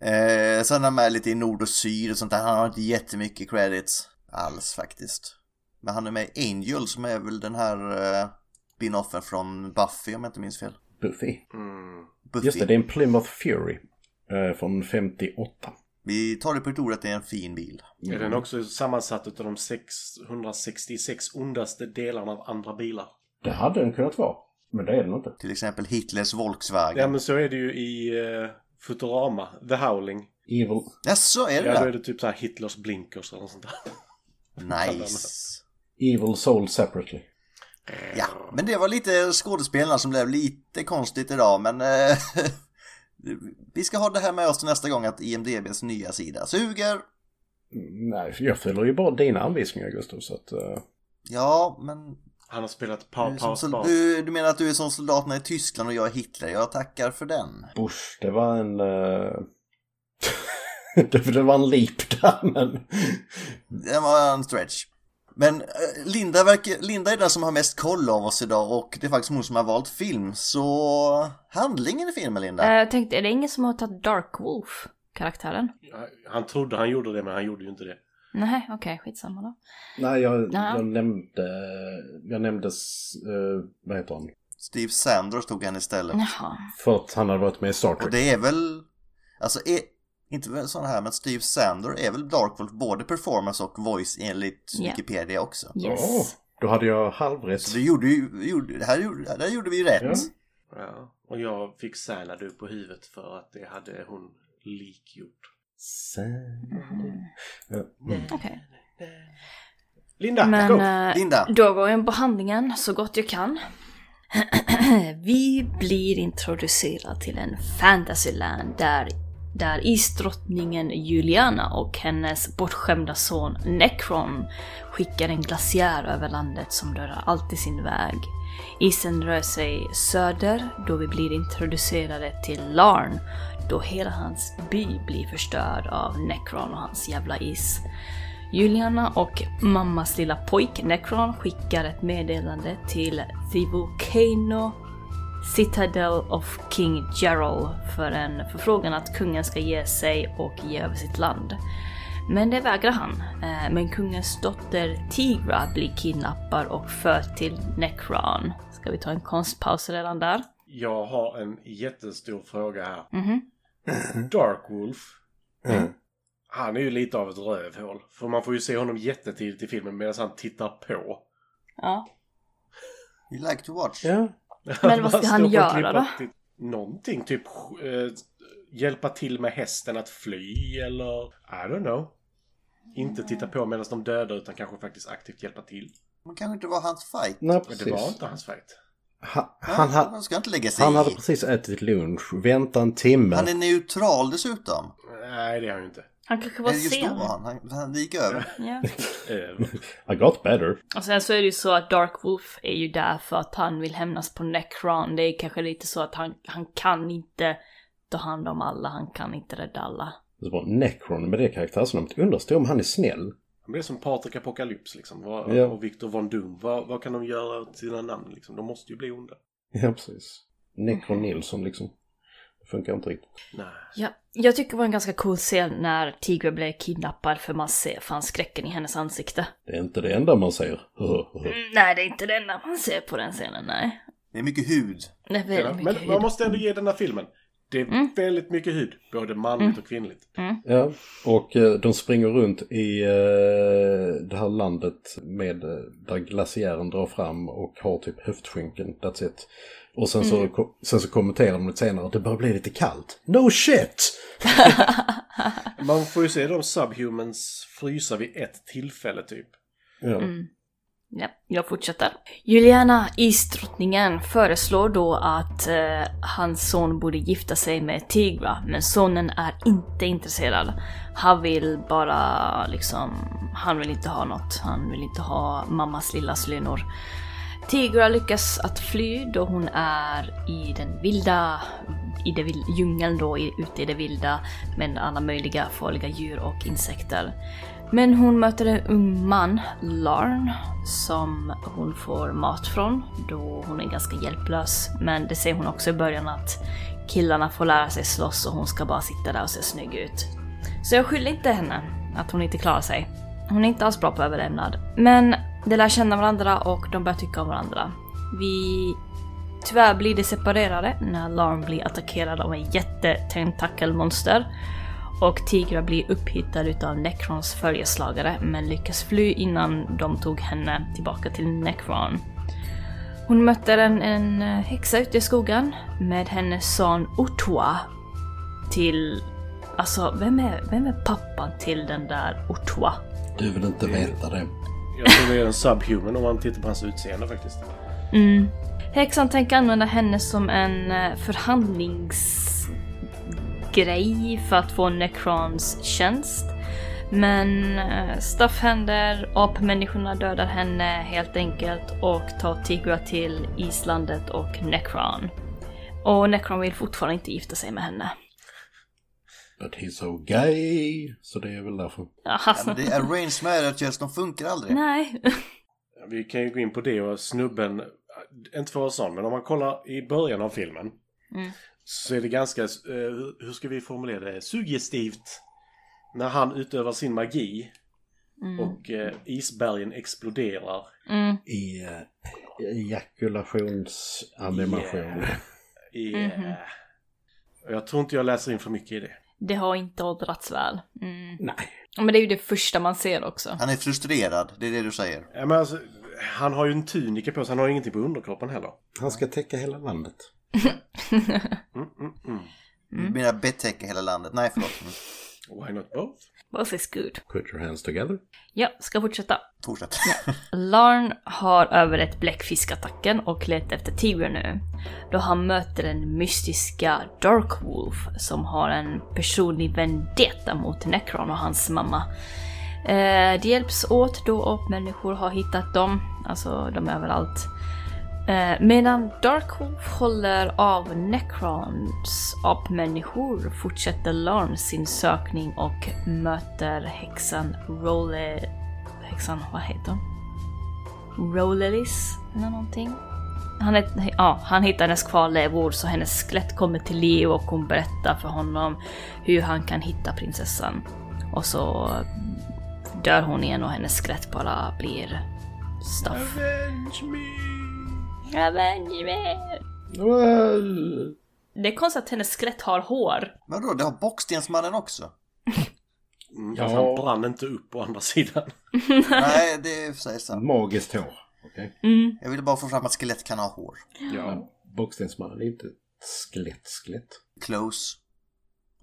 S3: Eh, sen är han med lite i Nord och Syd och sånt där. Han har inte jättemycket credits alls faktiskt. Men han är med i Angel som är väl den här eh, spinoffen från Buffy om jag inte minns fel.
S5: Buffy.
S4: Mm.
S3: Buffy.
S5: Just det, det är en Plymouth Fury. eh, från 58.
S3: Vi tar det på ett ord att det är en fin bil.
S4: Är
S5: Mm.
S4: den också sammansatt utav de 666 ondaste delarna av andra bilar?
S5: Det hade den kunnat vara, men det är den inte.
S3: Till exempel Hitlers Volkswagen.
S4: Ja men så är det ju i eh, Futurama, The Howling.
S5: Evil.
S3: Jaså, är det
S4: Ja då är
S3: det?
S4: det typ så här Hitlers blinkers eller något sånt där. [laughs]
S3: Nice.
S5: Evil Soul Separately.
S3: Ja, men det var lite skådespelarna som blev lite konstigt idag, men eh, [laughs] vi ska ha det här med oss till nästa gång att IMDBs nya sida suger.
S5: Mm, Nej, för jag följer ju bara dina anvisningar Gustav, så att... eh,
S3: Ja, men
S4: Han har spelat
S3: du,
S4: Power
S3: är som,
S4: Power
S3: sol-
S4: Spars.
S3: du, du menar att du är som soldaterna i Tyskland och jag är Hitler? Jag tackar för den.
S5: Bush, det var en... eh, [laughs] det det var en leap där, men...
S3: Det var en stretch. Men eh, Linda, verkar, Linda är den som har mest koll av oss idag och det är faktiskt hon som har valt film, så handlingen i filmen Linda.
S1: Eh, Jag tänkte, är det ingen som har tagit Dark Wolf-karaktären?
S4: Han trodde han gjorde det men han gjorde ju inte det.
S1: Nej, okej, skitsamma då.
S5: Nej, jag,
S1: Ja.
S5: jag nämnde... Jag nämnde... s- eh, vad heter han?
S3: Steve Sanders tog han istället.
S1: Jaha.
S5: För att han hade varit med i Star
S3: Och
S5: Trek.
S3: det är väl, alltså är, inte sådana här, men Steve Sander är väl Dark Wolf både performance och voice enligt
S1: Ja.
S3: Wikipedia också.
S1: Yes.
S5: Åh, då hade jag halvrätt.
S3: Så det gjorde ju, gjorde, det här gjorde, det här gjorde vi ju rätt.
S5: Ja.
S4: Ja. Och jag fick Xanadu på huvudet för att det hade hon likgjort.
S5: Sen...
S1: Okej.
S4: Linda,
S1: Men
S4: go!
S1: eh,
S3: Linda.
S1: då går jag på handlingen så gott jag kan. [clears throat] Vi blir introducerade till en fantasyland där, där isdrottningen Juliana och hennes bortskämda son Necron skickar en glaciär över landet som dödar allt i sin väg. Isen rör sig söder då vi blir introducerade till Larn då hela hans by blir förstörd av Necron och hans jävla is. Juliana och mammas lilla pojk Necron skickar ett meddelande till The Volcano Citadel of King Gerald för en förfrågan att kungen ska ge sig och ge över sitt land. Men det vägrar han. Eh, Men kungens dotter Tigra blir kidnappad och förd till Necron. Ska vi ta en konstpaus redan där?
S4: Jag har en jättestor fråga här.
S1: Mhm.
S4: Dark Wolf. Han är ju lite av ett rövhål. För man får ju se honom jättetidigt i filmen medan han tittar på.
S1: Ja.
S3: You like to watch.
S5: Ja.
S1: Men vad
S4: bara
S1: ska han
S4: står på
S1: göra
S4: klippan
S1: då?
S4: och tittar. Någonting, typ eh, hjälpa till med hästen att fly eller I don't know. Inte titta på medan de dödar utan kanske faktiskt aktivt hjälpa till.
S3: Men kanske inte var hans fight.
S5: Nej,
S4: Men
S5: precis.
S4: det var inte hans fight.
S5: Ha-
S3: Nej,
S5: [laughs] han, ha-
S3: man ska inte lägga sig
S5: han
S3: i.
S5: hade precis ätit lunch, väntat en timme.
S3: Han är neutral dessutom.
S4: Nej, det har han ju inte.
S1: Han kanske var
S3: Eller just då
S1: sen.
S3: var han, han, han gick över.
S1: Ja.
S4: Eh,
S5: I got better.
S1: Och sen så är det ju så att Dark Wolf är ju där för att han vill hämnas på Necron. Det är kanske lite så att han, han kan inte ta hand om alla, han kan inte rädda alla.
S5: Så bara, Necron med det karaktärsnamnet. Understår om han är snäll. [laughs]
S4: men det är som Patrik Apocalyps liksom. Vad,
S5: Ja.
S4: Och Victor von Doom. Vad, vad kan de göra åt sina namn liksom? De måste ju bli onda.
S5: Ja, precis. Necron Nilsson liksom. Det funkar inte riktigt.
S4: Nej.
S1: Ja, jag tycker det var en ganska cool scen när Tigra blev kidnappad för man ser fan skräcken i hennes ansikte.
S5: Det är inte det enda man säger. [laughs]
S1: Mm, nej, det är inte det enda man ser på den scenen, nej.
S3: Det är mycket hud.
S1: Det är
S4: Ja,
S1: väldigt mycket
S4: men man
S1: hud.
S4: måste ändå ge den här filmen. Det är
S1: Mm.
S4: väldigt mycket hud. Både manligt och kvinnligt.
S5: ja, och eh, de springer runt i eh, det här landet med eh, där glaciären drar fram och har typ höftskynken. That's it. Och sen så, ko- sen så kommenterar de lite senare att det börjar bli lite kallt. No shit!
S4: Man får ju se de subhumans frysa vid ett tillfälle typ.
S5: Ja.
S1: Mm. Ja, jag fortsätter. Juliana, isdrottningen, föreslår då att eh, hans son borde gifta sig med Tigra, men sonen är inte intresserad. Han vill bara liksom, han vill inte ha något. Han vill inte ha mammas lilla slynor. Tigra lyckas att fly då hon är i den vilda, i det vil- djungeln då, i, ute i det vilda med alla möjliga farliga djur och insekter. Men hon möter en ung man, Larn, som hon får mat från då hon är ganska hjälplös. Men det säger hon också i början att killarna får lära sig slåss och hon ska bara sitta där och se snygg ut. Så jag skyller inte henne att hon inte klarar sig. Hon är inte alls bra på överlevnad. Men de lär känna varandra och de börjar tycka om varandra. Vi Tyvärr blir de separerade när Larn blir attackerad av en jättetentakelmonster och Tigra blir upphittad utav Necrons följeslagare men lyckas fly innan de tog henne tillbaka till Necron. Hon mötte en, en häxa ute i skogen med hennes son Otoa till... Alltså, vem är, vem är pappan till den där Otoa?
S6: Du vill inte veta det.
S4: Jag tror det är en subhuman om man tittar på hans utseende faktiskt.
S1: Mm. Häxan tänker använda henne som en eh, förhandlingsgrej för att få Necrons tjänst. Men eh, stuff händer, apmänniskorna dödar henne helt enkelt och tar Tigra till Islandet och Necron. Och Necron vill fortfarande inte gifta sig med henne.
S5: But he's so gay. Så det är väl därför.
S1: Ja,
S3: Ja, men det är arranged marriages, de funkar aldrig.
S1: Alltså. [laughs] Nej.
S4: Vi kan ju gå in på det och snubben, inte för att vara sån, men om man kollar i början av filmen
S1: Mm.
S4: så är det ganska, eh, hur- hur ska vi formulera det, suggestivt när han utövar sin magi
S1: Mm.
S4: och eh, isbergen exploderar.
S1: Mm.
S5: I eh, ejakulationsanimation.
S4: Yeah. eh, I,
S1: Mhm.
S4: eh, och Jag tror inte jag läser in för mycket i det.
S1: Det har inte åldrats väl. Mm.
S5: Nej.
S1: Men det är ju det första man ser också.
S3: Han är frustrerad, det är det du säger.
S4: Ja, men alltså, han har ju en tunika på sig, han har ju ingenting på underkroppen heller.
S5: Han ska täcka hela landet.
S4: Mm, mm, mm.
S3: Du menar betäcka hela landet? Nej, förlåt. Mm.
S4: Why not both?
S1: Both is good.
S5: Put your hands together.
S1: Ja, ska fortsätta.
S3: Fortsätt.
S1: Larn har överlevt bläckfiskattacken och letar efter Tiger nu. Då han möter den mystiska Dark Wolf som har en personlig vendetta mot Necron och hans mamma. Eh, de hjälps åt då och människor har hittat dem, alltså de är överallt. Eh, medan Dark Wolf håller av Necrons apmänniskor fortsätter Larn sin sökning och möter häxan Role... Häxan, vad heter hon? Rollelis eller någonting. Han, är, ja, han hittar hennes kvarlevor så hennes skelett kommer till liv och hon berättar för honom hur han kan hitta prinsessan. Och så dör hon igen och hennes skelett bara blir stuff.
S4: Avenge me!
S1: Avenge me!
S5: Well.
S1: Det är konstigt att hennes skelett har hår.
S3: Men då, det har Bockstensmannen också.
S4: Mm,
S5: Ja.
S4: fast Han brann inte upp å andra sidan.
S3: Nej, det är i och för sig sant.
S5: Magiskt hår. Okej.
S1: Mm.
S3: Jag ville bara få fram att skelett kan ha hår.
S4: Ja.
S5: Bockstensmannen är inte ett skelett skelett.
S3: Close.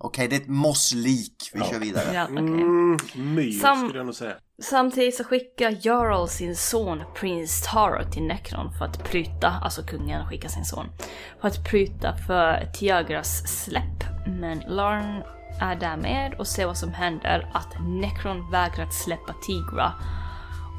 S3: Okej, det är ett mosslik. Vi
S5: Ja.
S3: kör vidare.
S1: Ja, okej.
S4: Mm, myr
S1: Sam-
S4: skulle jag nog säga.
S1: Samtidigt så skickar Jarl sin son prins Taro till Necron för att pryta, alltså kungen skickar sin son, för att pryta för Tiagras släpp. Men Larn är där med och ser vad som händer, att Necron vägrar att släppa Tigra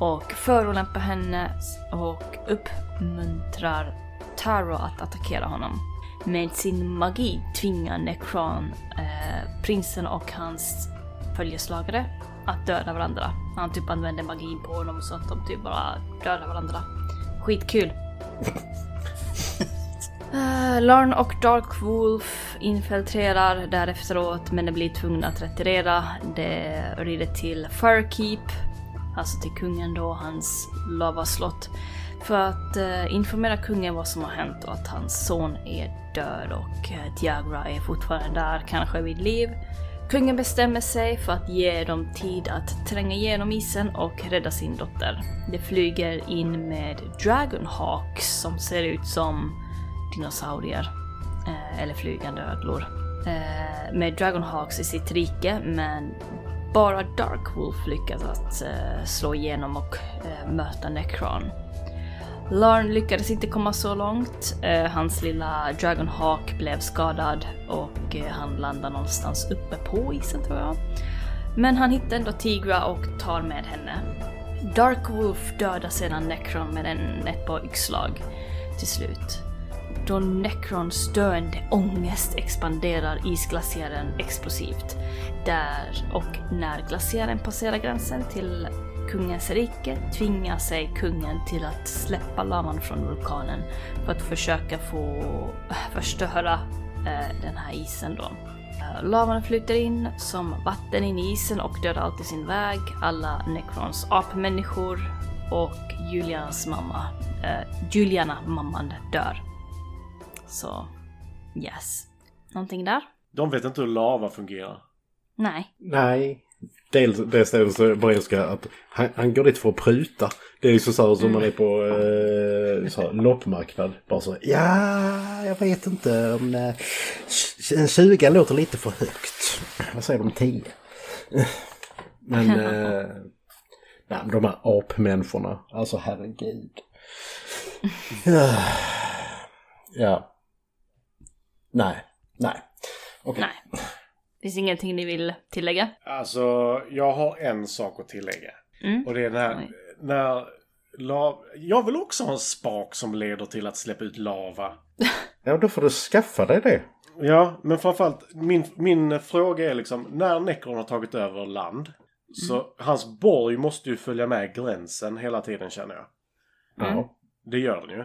S1: och förolämpar henne och uppmuntrar Taro att attackera honom. Med sin magi tvingar Necron eh, prinsen och hans följeslagare att döda varandra. Han typ använder magi på dem så att de typ bara dödar varandra. Skitkul. Eh, Larn och Dark Wolf infiltrerar därefteråt men de blir tvungna att retirera. De rider till Firekeep, alltså till kungen då, hans lavaslott. För att eh, informera kungen vad som har hänt och att hans son är död och eh, Diagra är fortfarande där, kanske vid liv. Kungen bestämmer sig för att ge dem tid att tränga igenom isen och rädda sin dotter. De flyger in med Dragonhawks som ser ut som dinosaurier. Eh, eller flygande ödlor. Eh, med Dragonhawks i sitt rike men bara Dark Wolf lyckas att eh, slå igenom och eh, möta Necron. Larn lyckades inte komma så långt. Eh, hans lilla Dragonhawk blev skadad och eh, han landade någonstans uppe på isen tror jag. Men han hittar ändå Tigra och tar med henne. Dark Wolf dödar sedan Necron med en, ett par yxslag till slut. Då Necrons döende ångest expanderar isglaciären explosivt. Där och när glaciären passerar gränsen till kungens rike tvingar sig kungen till att släppa lavan från vulkanen för att försöka få äh, förstöra eh, den här isen då. Eh, Lavan flyter in som vatten in i isen och dödar allt i sin väg, alla Necrons apmänniskor och Julianas mamma, eh, Juliana, mamman, äh, dör. Så yes. Någonting där?
S4: De vet inte hur lava fungerar.
S1: Nej.
S5: Nej. Dels det stället så bara älskar jag att han, han går dit för att pruta. Det är liksom så här som man är på eh, så här, loppmarknad. Bara så här, ja, jag vet inte om eh, en 20 låter lite för högt. Vad säger de 10? Men eh, nej, men de här apmänniskorna, alltså herregud. Ja. Nej, nej. Okej.
S1: Nej. Finns ingenting ni vill tillägga?
S4: Alltså, jag har en sak att tillägga.
S1: Mm.
S4: Och det är när,
S1: Oj.
S4: när lav... Jag vill också ha en spak som leder till att släppa ut lava.
S5: Ja, då får du skaffa dig det.
S4: Ja, men framförallt min, min fråga är liksom när Necron har tagit över land så hans borg måste ju följa med gränsen hela tiden känner jag.
S1: Mm.
S5: Ja.
S4: Det gör den ju.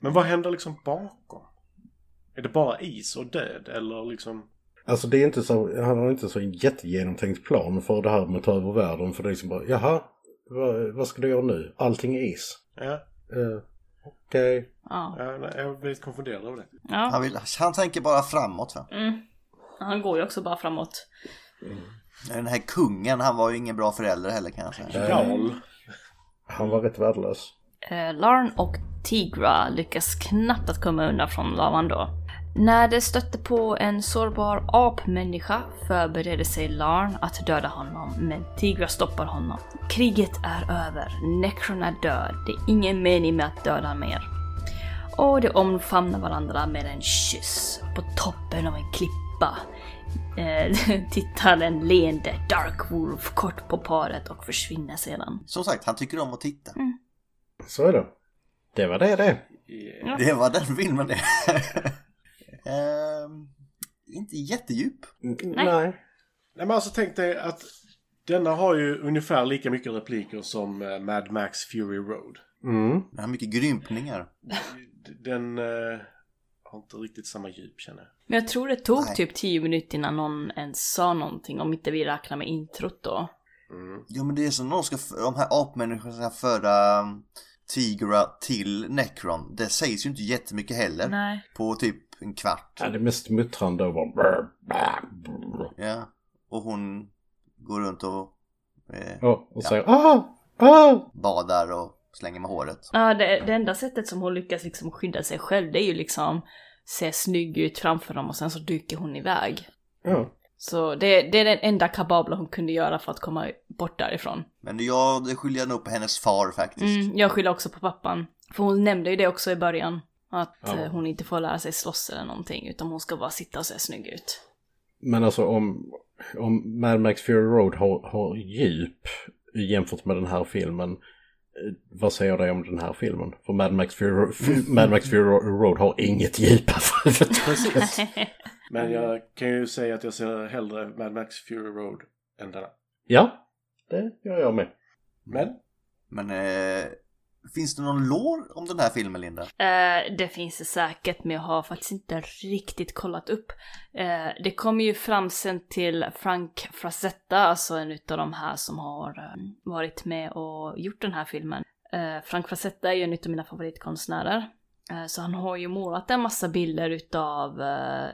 S4: Men vad händer liksom bakom? Är det bara is och död eller liksom?
S5: Alltså det är inte så, han har inte så en jättegenomtänkt plan för det här med att ta över världen. För det är liksom bara, jaha, vad, vad ska du göra nu? Allting är is.
S4: Ja,
S5: Eh, Okej.
S1: Ja.
S4: ja, nej, jag blir lite konfunderad över det.
S1: ja.
S3: Han, vill, han tänker bara framåt. Va?
S1: Mm. Han går ju också bara framåt.
S3: Den här kungen, han var ju ingen bra förälder heller kan jag säga.
S4: Jarl.
S5: Han var rätt värdelös.
S1: Eh, Larn och Tigra lyckas knappt att komma undan från lavan då. När de stötte på en sårbar apmänniska förberedde sig Larn att döda honom, men Tigra stoppar honom. Kriget är över, Necron är död, det är ingen mening med att döda mer. Och de omfamnar varandra med en kyss på toppen av en klippa. Eh, [laughs] tittar en leende Dark Wolf kort på paret och försvinner sedan.
S3: Som sagt, han tycker om att titta.
S5: Så är det. Det var det det.
S3: Det var den filmen det. [laughs] Ehm, inte jättedjup.
S5: Nej.
S4: Nej men alltså tänk dig att denna har ju ungefär lika mycket repliker som eh, Mad Max Fury Road.
S5: Mm.
S3: Den har mycket grympningar.
S4: D- Den eh, har inte riktigt samma djup känner jag.
S1: Men jag tror det tog
S3: Nej.
S1: typ 10 minuter innan någon ens sa någonting, om inte vi räknar med introt då.
S4: Mm.
S3: Jo men det är som någon ska, f- de här apmänniskorna ska föra um, Tigra till Necron. Det sägs ju inte jättemycket heller.
S1: Nej.
S3: På typ en kvart.
S5: Ja, det mest muttrande var...
S3: Ja. Och hon går runt och eh,
S5: Ja, och säger ah, ah!
S3: badar och slänger med håret.
S1: Ja, det, det enda sättet som hon lyckas liksom skydda sig själv, det är ju liksom se snygg ut framför dem och sen så dyker hon iväg.
S5: Ja.
S1: Så det, det är den enda kababla hon kunde göra för att komma bort därifrån.
S3: Men jag, det skyller jag nog på hennes far faktiskt.
S1: Mm, jag skyller också på pappan. För hon nämnde ju det också i början. Att
S5: Ja.
S1: eh, hon inte får lära sig slåss eller någonting, utan hon ska bara sitta och se snygg ut.
S5: Men alltså om, om Mad Max Fury Road har, har djup jämfört med den här filmen, eh, vad säger det om den här filmen? För Mad Max Fury, Ro- Fu-
S4: [laughs]
S5: Mad Max Fury Ro- Road har inget djup. [laughs]
S4: Precis.
S1: [laughs]
S4: Men jag kan ju säga att jag ser hellre Mad Max Fury Road än denna.
S5: ja, det gör jag med.
S4: Men
S3: Men eh, finns det någon lår om den här filmen Linda?
S1: Eh, det finns det säkert, men jag har faktiskt inte riktigt kollat upp. Eh, det kommer ju fram sen till Frank Frazetta, alltså en utav de här som har eh, varit med och gjort den här filmen. Eh, Frank Frazetta är ju en utav mina favoritkonstnärer. Eh, så han har ju målat en massa bilder utav eh,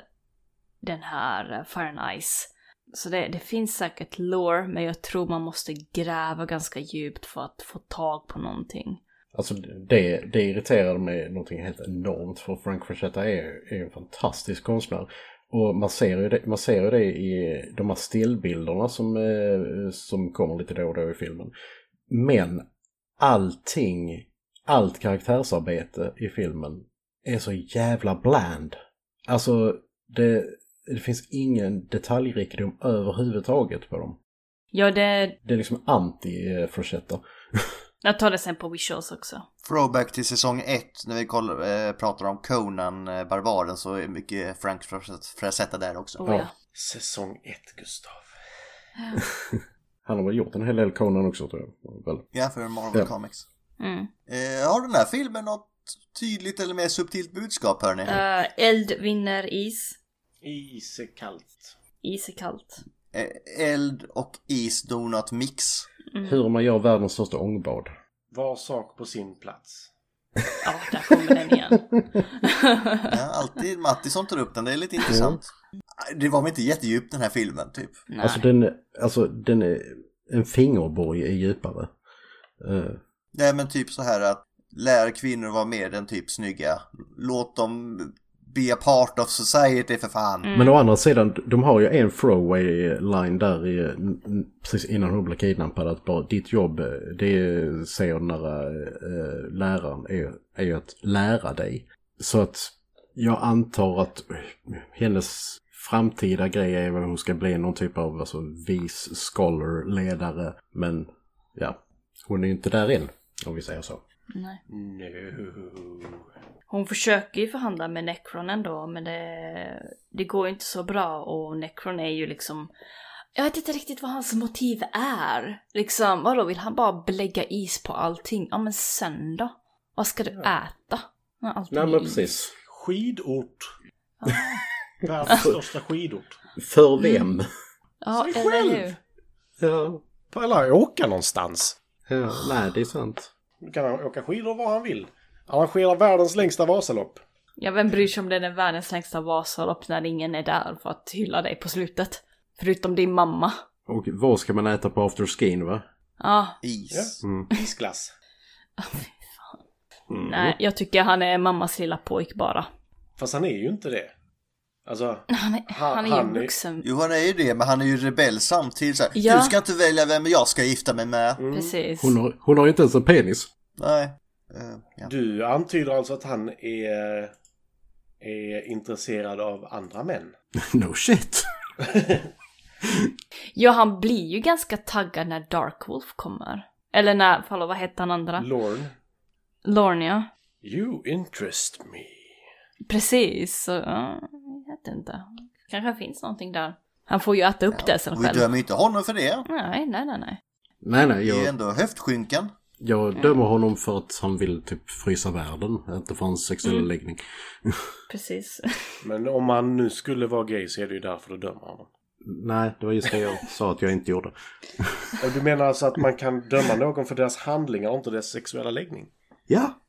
S1: den här eh, Fire and Ice. Så det, det finns säkert lore, men jag tror man måste gräva ganska djupt för att få tag på någonting.
S5: Alltså det, det irriterade mig någonting helt enormt för Frank Frazetta är, är en fantastisk konstnär. Och man ser, ju det, man ser ju det i de här stillbilderna som, eh, som kommer lite då och då i filmen. Men allting, allt karaktärsarbete i filmen är så jävla bland. Alltså det, det finns ingen detaljrikedom överhuvudtaget på dem.
S1: Ja, det,
S5: Det är liksom anti-Frazetta.
S1: Jag tar det sen på Visuals också.
S3: Throwback till säsong 1 när vi kollar, eh, pratar om Conan, eh, Barbaren, så är mycket Frank Frazetta där också.
S1: Oh, ja.
S4: säsong 1, Gustav.
S5: Han har väl gjort en hel del Conan också tror jag. Väl.
S3: Ja, för Marvel
S5: Ja.
S3: Comics.
S1: Mm.
S3: Eh, har den här filmen något tydligt eller mer subtilt budskap hörni?
S1: Eh, eld vinner is.
S4: Isekallt.
S1: Is är kallt.
S3: Eh, eld och is donut mix.
S1: Mm.
S5: Hur man gör världens största ångbad.
S4: Var sak på sin plats.
S1: Ja, där kommer den
S5: [laughs]
S1: igen.
S3: Ja, alltid Matti som tar upp den, det är lite intressant. Det var väl inte jättedjupt den här filmen, typ.
S1: Nej.
S5: Alltså den, alltså den är, en fingerborg är djupare. Eh,
S3: Nej, men typ så här att lär kvinnor vara mer än typ snygga. Låt dem be a part of society för fan.
S1: Mm.
S5: Men å andra sidan, de har ju en throwaway line där i, n- n- precis innan hon blir kidnappad att bara ditt jobb, eh, det är- säger den där eh, läraren, är, är ju att lära dig. Så att jag antar att hennes framtida grej är vad hon ska bli någon typ av alltså, vis scholar, ledare. Men ja, hon är ju inte där än, om vi säger så.
S1: Nej.
S4: No.
S1: Hon försöker ju förhandla med Necron ändå, men det, det går ju inte så bra och Necron är ju liksom... Jag vet inte riktigt vad hans motiv är. Liksom, vadå, vill han bara lägga is på allting? Ja men sen då? Vad ska du äta? När allting
S5: Nej
S1: är
S5: men
S1: is.
S5: precis.
S4: Skidort. [laughs] Världens största skidort.
S5: För vem?
S1: Ja,
S4: Sig
S1: eller
S4: själv!
S1: hur?
S5: [laughs] ja,
S4: Alla åka någonstans.
S5: ja, nej det är sant.
S4: Nu kan han åka skidor var han vill. Arrangera världens längsta Vasalopp.
S1: Ja, vem bryr sig om den är världens längsta Vasalopp när ingen är där för att hylla dig på slutet? Förutom din mamma.
S5: Och vad ska man äta på afterskin va?
S1: Ja,
S3: Is.
S4: Isglass. Mm.
S1: nej, jag tycker han är mammas lilla pojk bara.
S4: Fast han är ju inte det. Alltså,
S1: Han är,
S4: Han-
S1: han är
S4: han
S1: ju
S4: är-
S1: vuxen.
S3: Jo, han är ju det, men han är ju rebell samtidigt. Så här,
S1: Ja.
S3: Du ska inte välja vem jag ska gifta mig med.
S1: Mm. Precis.
S5: Hon har, hon har ju inte ens en penis.
S3: Nej. Eh, ja.
S4: du antyder alltså att han är, är intresserad av andra män.
S5: [laughs] No shit.
S1: Ja, han blir ju ganska taggad när Darkwolf kommer. Eller när, hallå, vad hette han andra?
S4: Lorne,
S1: Lorne, ja.
S4: you interest me.
S1: Precis, så ja, jag vet inte. Kanske finns någonting där. Han får ju äta upp det sen
S3: Och vi
S1: själv.
S3: dömer ju inte honom för det.
S1: Nej, nej, nej, nej.
S5: Nej, nej,
S3: Det är ju
S5: jag,
S3: ändå höftskynken.
S5: jag dömer honom för att han vill typ frysa världen, inte för hans sexuella läggning.
S1: Precis. [laughs]
S4: Men om han nu skulle vara gay så är det ju därför du dömer honom.
S5: Nej, det var just det jag sa att jag inte gjorde.
S4: Och du menar alltså att man kan döma någon för deras handlingar och inte deras sexuella läggning?
S5: [laughs]
S4: [laughs]
S5: Ja,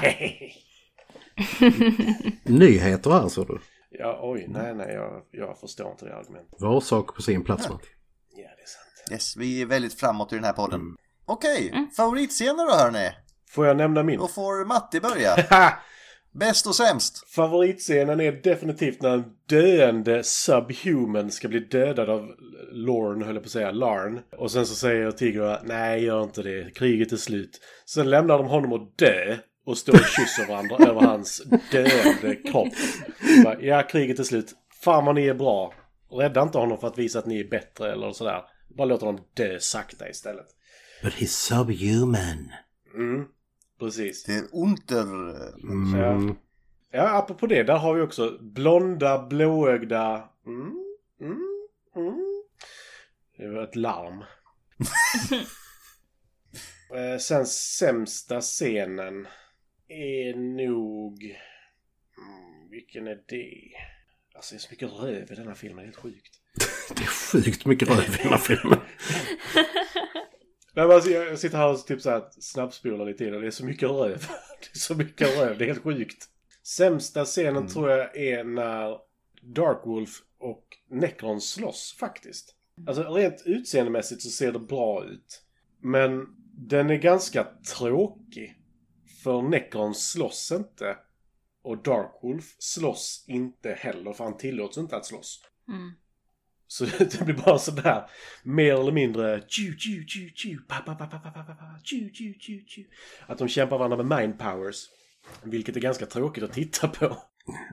S4: Nej!
S5: nyheter här så du.
S4: Ja, oj, nej, nej, jag, jag förstår inte det argumentet.
S5: Var sak på sin plats, Matti.
S4: Ja, det är sant.
S3: Yes, vi är väldigt framåt i den här podden. Okej, favoritscener då hörni.
S4: Får jag nämna min?
S3: Då får Matti börja.
S4: Ha!
S3: Bäst och sämst.
S4: Favoritscenen är definitivt när en döende subhuman ska bli dödad av Lorn, höll jag på att säga, Larn. Och sen så säger Tigra, nej gör inte det, kriget är slut. Sen lämnar de honom att dö och står och kysser varandra över hans döende kropp. Bara, Ja, kriget är slut. Fan vad ni är bra. Rädda inte honom för att visa att ni är bättre eller sådär. Bara låt honom dö sakta istället.
S5: But he's subhuman.
S4: Mm, precis.
S3: Det är onter.
S5: Mm.
S4: Ja. Ja, apropå det, där har vi också blonda, blåögda... Mm, mm, mm. Det var ett larm. Eh, Sen sämsta scenen är nog... Mm, vilken är det? Alltså det är så mycket röv i denna filmen, det är helt sjukt.
S5: Det är sjukt mycket röv i den här [laughs] filmen.
S4: Nej, men alltså, jag sitter här och typ så här snabbspolar lite in och det är så mycket röv. [laughs] Det är så mycket röv, det är helt sjukt. Sämsta scenen tror jag är när Darkwolf och Necron slåss faktiskt. Alltså rent utseendemässigt så ser det bra ut. Men den är ganska tråkig. För Necron slåss inte. Och Darkwolf slåss inte heller för han tillåts inte att slåss.
S1: Mm.
S4: Så [laughs] det blir bara sådär mer eller mindre tju tju tju tju pa pa pa pa pa pa pa pa tju tju tju tju Att de kämpar varandra med mind powers. Vilket är ganska tråkigt att titta på.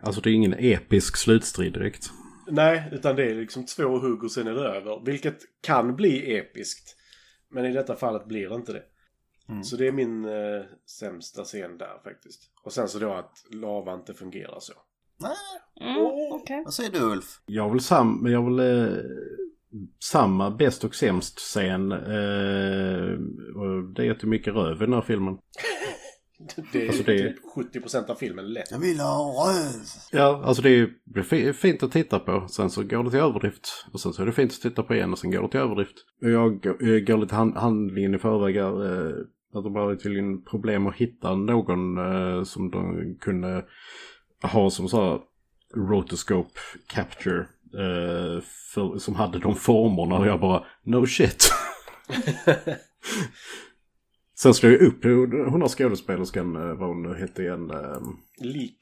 S5: Alltså det är ingen episk slutstrid direkt.
S4: Nej, utan det är liksom två hugg och sen är det över. Vilket kan bli episkt. Men i detta fallet blir det inte det.
S5: Mm.
S4: Så det är min eh, sämsta scen där faktiskt. Och sen så då att lava inte fungerar så. [laughs]
S3: Nej,
S1: Mm, okej.
S3: vad säger du Ulf?
S5: Jag vill, sam men jag vill eh, samma bäst och sämst scen. Eh, och det är att det är mycket röv i den här filmen.
S4: Det är
S5: Alltså, det är-
S4: typ 70% av filmen lätt.
S3: Jag vill ha röv.
S5: Ja, alltså det är ju fi- fint att titta på. Sen så går det till överdrift. Och sen så är det fint att titta på igen och sen går det till överdrift. Och jag g- eh, går lite hand handlingen i förväg. här, eh, Att de hade tydligen problem att hitta någon eh, som de kunde ha som så här rotoscope capture. eh, för, som hade de formerna och jag bara no [laughs] shit. Sen slog jag upp hon hon har skådespelerskan, eh, vad hon nu hette igen. eh,
S4: Lik.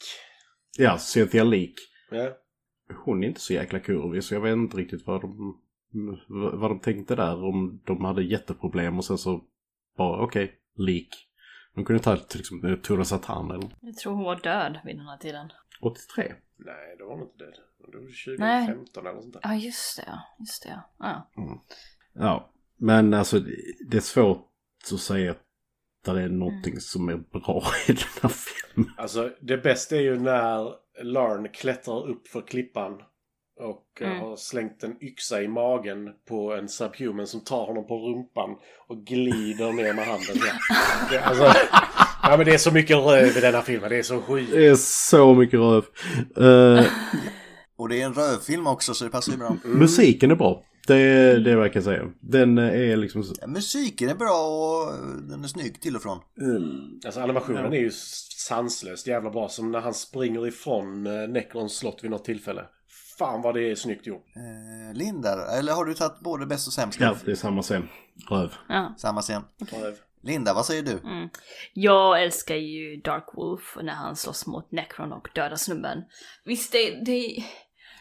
S5: Ja, Cynthia Leak.
S4: Ja.
S5: Hon är inte så jäkla kurvig så jag vet inte riktigt vad de, vad de tänkte där. Om de hade jätteproblem och sen så bara okej, Leak. De kunde ta till exempel eh, Tura Satan eller
S1: Jag tror hon var död vid den här tiden.
S5: 83.
S4: Nej, det var nog inte det. Det var
S1: Nej.
S4: 2015 eller sånt där.
S1: Ja, just det. ja. Just det. ja. Ja.
S5: Ja, men alltså det är svårt att säga att det är någonting som är bra [laughs] i den här filmen.
S4: Alltså, det bästa är ju när Larn klättrar upp för klippan och eh,
S1: Mm.
S4: har slängt en yxa i magen på en subhuman som tar honom på rumpan och glider ner med
S1: [laughs]
S4: handen. Ja. Det, alltså, ja, men det är så mycket röv i den här filmen. Det är så sjukt.
S5: Det är så mycket röv. Eh,
S3: Och det är en rövfilm också så det passar ju bra.
S5: Musiken är bra. Det, det verkar jag säga. Den är liksom... så-
S3: Ja, musiken är bra och eh, den är snygg till och från.
S4: Alltså animationen är ju s- sanslöst jävla bra. Som när han springer ifrån eh, Necrons slott vid något tillfälle. Fan vad det är snyggt gjort.
S3: Eh, Lindar, eller har du tagit både bäst och sämst?
S5: Ja, det är samma scen. Röv.
S1: Ja.
S3: Samma scen.
S4: Röv.
S3: Linda, vad säger du?
S1: Jag älskar ju Dark Wolf när han slåss mot Necron och dödar snubben. Visst, det, det,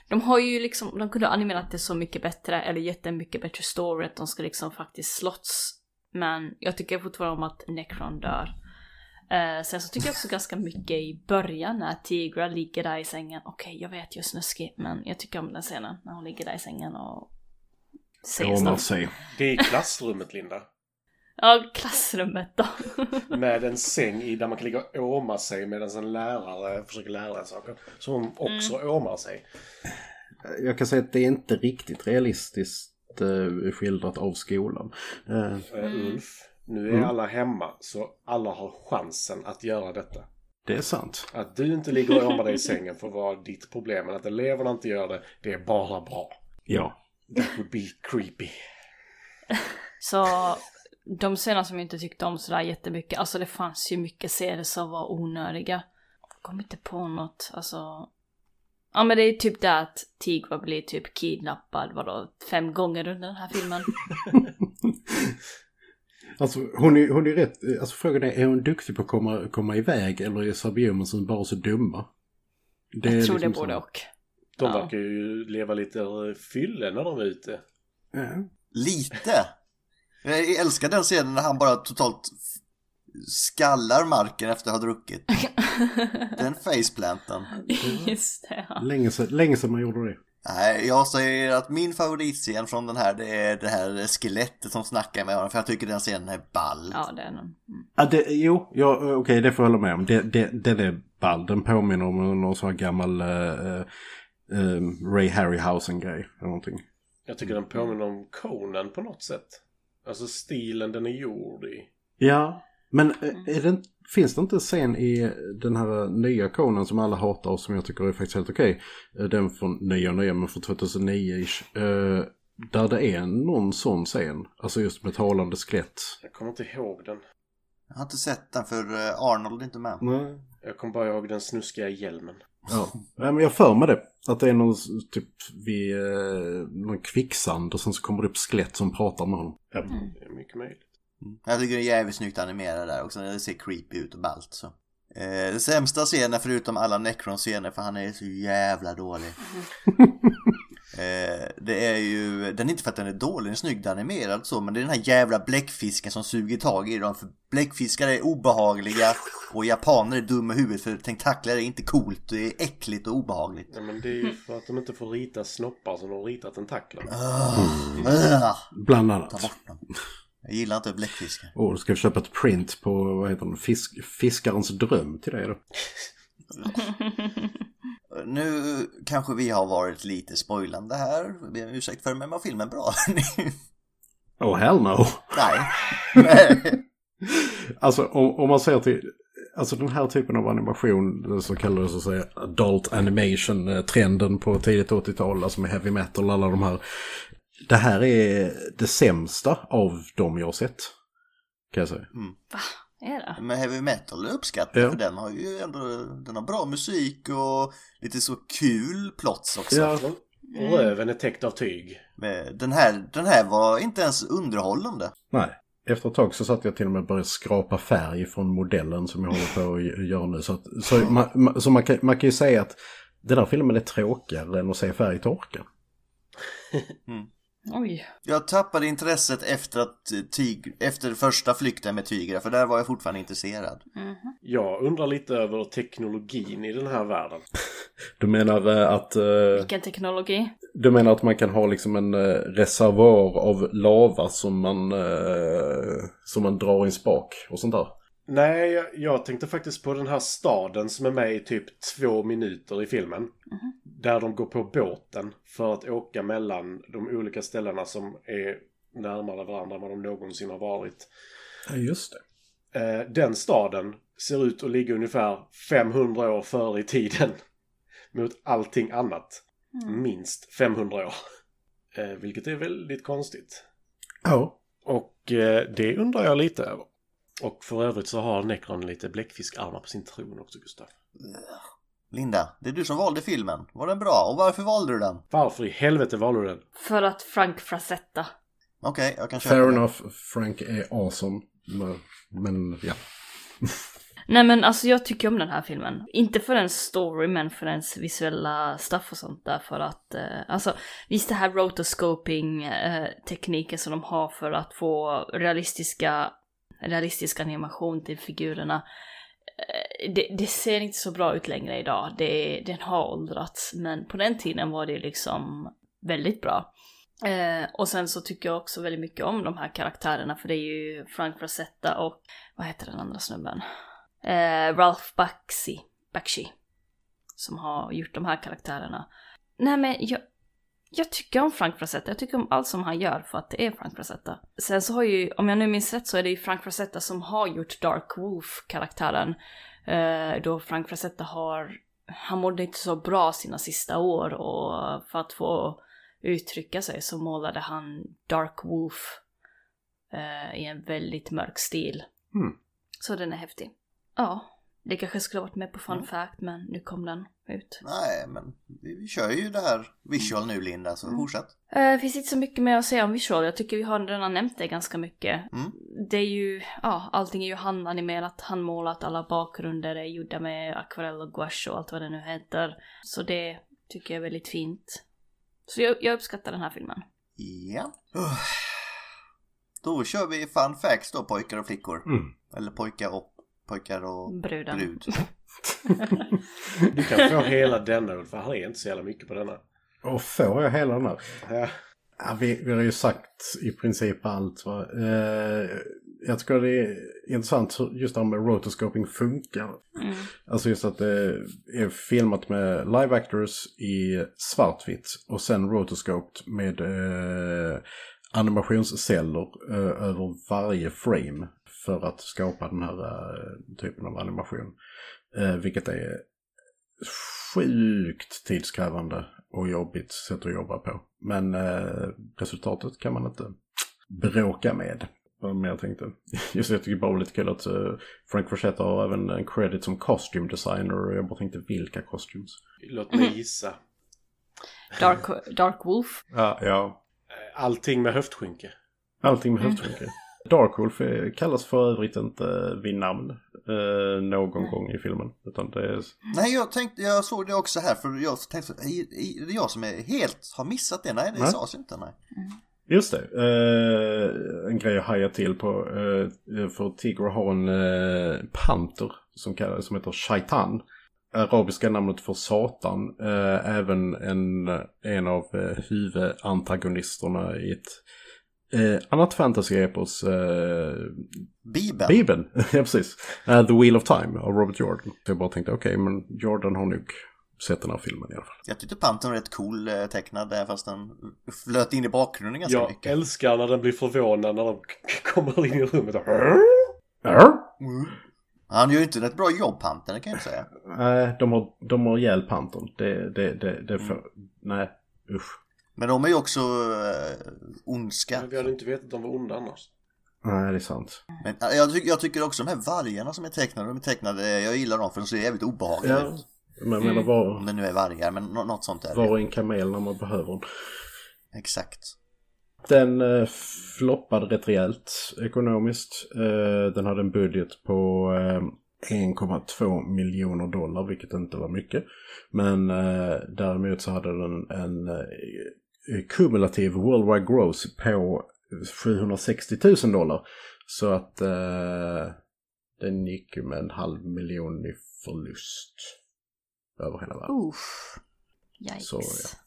S1: de har ju liksom, de kunde ha animerat det så mycket bättre eller gett en mycket bättre story att de ska liksom faktiskt slåss. Men jag tycker fortfarande om att Necron dör. Eh, sen så tycker jag också ganska mycket i början när Tigra ligger där i sängen. Okej, jag vet jag är snuskig, men jag tycker om den scenen när hon ligger där i sängen och säger
S5: Åmar
S1: snabbt.
S5: sig.
S4: Det är i klassrummet, Linda.
S1: Ja, klassrummet då.
S4: Med en säng i där man kan ligga och åma sig medan en lärare försöker lära en saker. Så hon också åmar sig.
S5: Jag kan säga att det är inte riktigt realistiskt eh, skildrat av skolan. Eh,
S4: Eh, Ulf, nu är
S5: Mm.
S4: alla hemma så alla har chansen att göra detta.
S5: det är sant.
S4: Att du inte ligger och åmar dig i sängen får vara ditt problem. Men att eleverna inte gör det, det är bara bra.
S5: Ja.
S4: That would be creepy.
S1: Så de scener som jag inte tyckte om sådär jättemycket, alltså det fanns ju mycket serier som var onödiga. Jag kom inte på något, alltså. Ja men det är typ det att Tigra blir typ kidnappad, vadå, fem gånger under den här filmen.
S5: Alltså hon är, hon är rätt, alltså frågan är, är hon duktig på att komma, komma iväg eller är Sabiomen som bara så dumma? [laughs] Det är
S1: jag tror det är
S5: liksom så-
S1: både och.
S4: De
S1: Ja.
S4: verkar ju leva lite eh, fylle när de är ute.
S5: Ja.
S3: Lite. Jag älskar den scenen när han bara totalt f- skallar marken efter att ha druckit. Den faceplanten.
S1: [laughs] Just det, ja.
S5: Länge, sedan, länge sedan man gjorde det.
S3: Nej, jag säger att min favoritscen från den här, det är det här skelettet som snackar med honom, för jag tycker den scenen är ball.
S1: Ja, det är någon.
S5: Ja, det jo, ja, eh, okej det får jag hålla med om. Det, det, den är ball. Den påminner om någon sån här gammal eh, eh, Ray Harryhausen-grej. Eller någonting.
S4: Jag tycker den påminner om Conan på något sätt. Alltså stilen den är gjord i.
S5: Ja, men eh, är det, inte- finns det inte en scen i den här nya konen som alla hatar och som jag tycker är faktiskt helt okej? Eh, Den från nya och nya men från 2009-ish. eh, Där det är någon sån scen. Alltså just med talande skelett.
S4: Jag kommer inte ihåg den.
S3: Jag har inte sett den för eh, Arnold är inte med.
S5: Nej.
S4: Jag kommer bara ihåg den snuskiga hjälmen.
S5: Ja, Nej, men jag för mig det. Att det är någon s- typ vid eh, någon kvicksand och sen så kommer det upp skelett som pratar med honom. Ja.
S4: Det är mycket möjligt.
S3: Jag tycker det är jävligt snyggt animerat där också, det ser creepy ut och ballt så. Eh, den sämsta scenen förutom alla Necron-scener, för han är så jävla dålig. Eh, det är ju, den är inte för att den är dålig, den är snyggt animerad så, men det är den här jävla bläckfisken som suger tag i dem. För bläckfiskar är obehagliga och japaner är dumma i huvudet för tentakler är inte coolt, det är äckligt och obehagligt.
S4: Nej men det är ju för att de inte får rita snoppar som de ritar tentakler.
S3: Ah,
S5: Bland annat.
S3: jag gillar inte bläckfiskar.
S5: Och ska vi köpa ett print på, vad heter den, Fisk, Fiskarens dröm till dig då?
S3: Nu kanske vi har varit lite spoilande här, jag ber om ursäkt för det, men var filmen bra? [laughs]
S5: Oh hell no!
S3: Nej. Nej.
S5: Alltså om, om man ser till, alltså den här typen av animation, den så kallade så att säga adult animation-trenden på tidigt 80-tal, alltså med heavy metal alla de här. Det här är det sämsta av dem jag har sett. kan jag säga.
S1: Är det?
S3: Men heavy metal uppskattar jag
S5: Ja.
S3: för den har ju ändå den har bra musik och lite så kul plots också.
S5: Ja.
S4: Och röven är täckt av tyg.
S3: Men den, här, den här var inte ens underhållande.
S5: Nej. Efter ett tag så satt jag till och med och började skrapa färg från modellen som jag håller på att göra nu. Så, att, så, man, man- så man, kan, man kan ju säga att den här filmen är tråkigare än att se färg torka.
S1: Oj.
S3: Jag tappade intresset efter, att tig, efter första flykten med Tigra för där var jag fortfarande intresserad.
S1: Mhm.
S4: Jag undrar lite över teknologin i den här världen.
S5: Du menar, eh, att, eh,
S1: Vilken teknologi.
S5: du menar att man kan ha liksom en eh, reservoar av lava som man, eh, som man drar i en spak och sånt där?
S4: Nej, jag- jag tänkte faktiskt på den här staden som är med i typ två minuter i filmen. Där de går på båten för att åka mellan de olika ställena som är närmare varandra än vad de någonsin har varit.
S5: Ja, just det.
S4: Eh, den staden ser ut att ligga ungefär 500 år före i tiden [laughs] mot allting annat.
S5: Mm.
S4: Minst 500 år. Eh, vilket är väldigt konstigt.
S5: Ja.
S4: Och eh, det undrar jag lite över. Och för övrigt så har Necron lite bläckfiskarmar på sin tron också, Gustav.
S3: Linda, det är du som valde filmen. Var den bra? Och varför valde du den?
S4: Varför i helvete valde du den?
S1: För att Frank Frazetta.
S3: Okej, jag kan köpa
S5: Fair
S3: den.
S5: enough, Frank är awesome. Men, men ja.
S1: Nej men alltså jag tycker om den här filmen. Inte för den story men för dens visuella stuff och sånt där för att, eh, alltså visst det här rotoscoping eh, tekniken som de har för att få realistiska, realistisk animation till figurerna. Eh, det, det ser inte så bra ut längre idag, det, den har åldrats men på den tiden var det liksom väldigt bra. Eh, och sen så tycker jag också väldigt mycket om de här karaktärerna för det är ju Frank Rosetta och vad heter den andra snubben? eh, Ralph Bakshi, Bakshi som har gjort de här karaktärerna. Nej men jag, jag tycker om Frank Frazetta, jag tycker om allt som han gör för att det är Frank Frazetta. Sen så har ju, om jag nu minns rätt så är det ju Frank Frazetta som har gjort Dark Wolf-karaktären. Eh, då Frank Frazetta har, han mådde inte så bra sina sista år och för att få uttrycka sig så målade han Dark Wolf eh, i en väldigt mörk stil.
S4: Hmm.
S1: Så den är häftig. Ja, det kanske skulle ha varit med på Fun Fact men nu kom den ut.
S3: Nej, men vi, vi kör ju det här visual nu Linda, så fortsätt.
S1: Det Eh, finns inte så mycket mer att säga om visual. Jag tycker vi har redan nämnt det ganska mycket.
S3: Mm.
S1: Det är ju, ja, allting är ju handanimerat, handmålat, alla bakgrunder är gjorda med akvarell och gouache och allt vad det nu heter. Så det tycker jag är väldigt fint. Så jag, jag uppskattar den här filmen.
S3: Ja. Då kör vi fun facts då pojkar och flickor.
S5: Mm.
S3: Eller pojkar och pojkar och
S1: Bruden.
S3: brud.
S4: Du kan
S3: [laughs]
S4: få hela denna Ulf, för här är inte så jävla mycket på denna.
S5: Och får jag hela den här?
S4: Ja.
S5: Ja, vi, vi har ju sagt i princip allt. Va? Eh, jag tycker det är intressant hur- just det här med rotoscoping funkar.
S1: Mm.
S5: Alltså just att det är filmat med live actors i svartvitt och sen rotoscoped med eh, animationsceller eh, över varje frame för att skapa den här eh, typen av animation. Eh, vilket är sjukt tidskrävande och jobbigt sätt att jobba på. Men eh, resultatet kan man inte bråka med. Vad mer jag tänkte. [laughs] Just det, jag tycker bara det var lite kul att eh, Frank Frazetta har även en credit som costume designer och jag bara tänkte vilka costumes.
S4: Låt
S3: Mm.
S4: mig gissa.
S1: Dark, Dark Wolf.
S5: Ja, ja.
S4: Allting med höftskynke.
S5: Allting med höftskynke. Darkwolf eh, kallas för övrigt inte vid namn eh, någon gång i filmen. Utan det är...
S3: Nej, jag tänkte, jag såg det också här för jag tänkte, så- i, i, det är jag som är helt har missat det. Nej, det
S5: Nej.
S3: sades inte. Nej.
S5: Just det. Eh, en grej jag hajade till på. Eh, för Tigre har en eh, panter som, kallar, som heter Shaitan. Arabiska namnet för Satan. Eh, även en, en av eh, huvudantagonisterna i ett eh, annat fantasy-epos. Eh,
S3: Bibeln.
S5: Bibeln, [laughs] ja precis. Eh, The Wheel of Time av Robert Jordan. Så jag bara tänkte okej, men Jordan har nog sett den här filmen i alla fall.
S3: Jag tyckte Panten var rätt cool eh, tecknad där fast den flöt in i bakgrunden ganska
S4: Jag
S3: mycket.
S4: älskar när den blir förvånad när de kommer in i rummet och...
S3: Mm. Han gör ju inte ett bra jobb Panten, det kan jag inte säga.
S5: Nej, de har, de har ihjäl Pantern. Det, det, det, det får... Nej, usch.
S3: Men de är ju också eh, ondska.
S4: Men vi hade inte vetat att de var onda annars.
S5: Nej, det är sant.
S3: Men ja, jag, tycker- jag tycker också de här vargarna som är tecknade, de är tecknade, jag gillar dem för de ser jävligt obehagliga
S5: Ja,
S3: ut.
S5: men jag menar
S3: Om
S5: var,
S3: det nu är vargar, men nå- något sånt där.
S5: var är en kamel när man behöver den?
S3: Exakt.
S5: Den eh, floppade rätt rejält ekonomiskt. Eh, den hade en budget på eh, 1,2 miljoner dollar, vilket inte var mycket. Men eh, däremot så hade den en eh, kumulativ worldwide gross på 760 000 dollar. Så att eh, den gick ju med en halv miljon i förlust över hela världen.
S1: Uff. Yikes.
S5: Så, ja.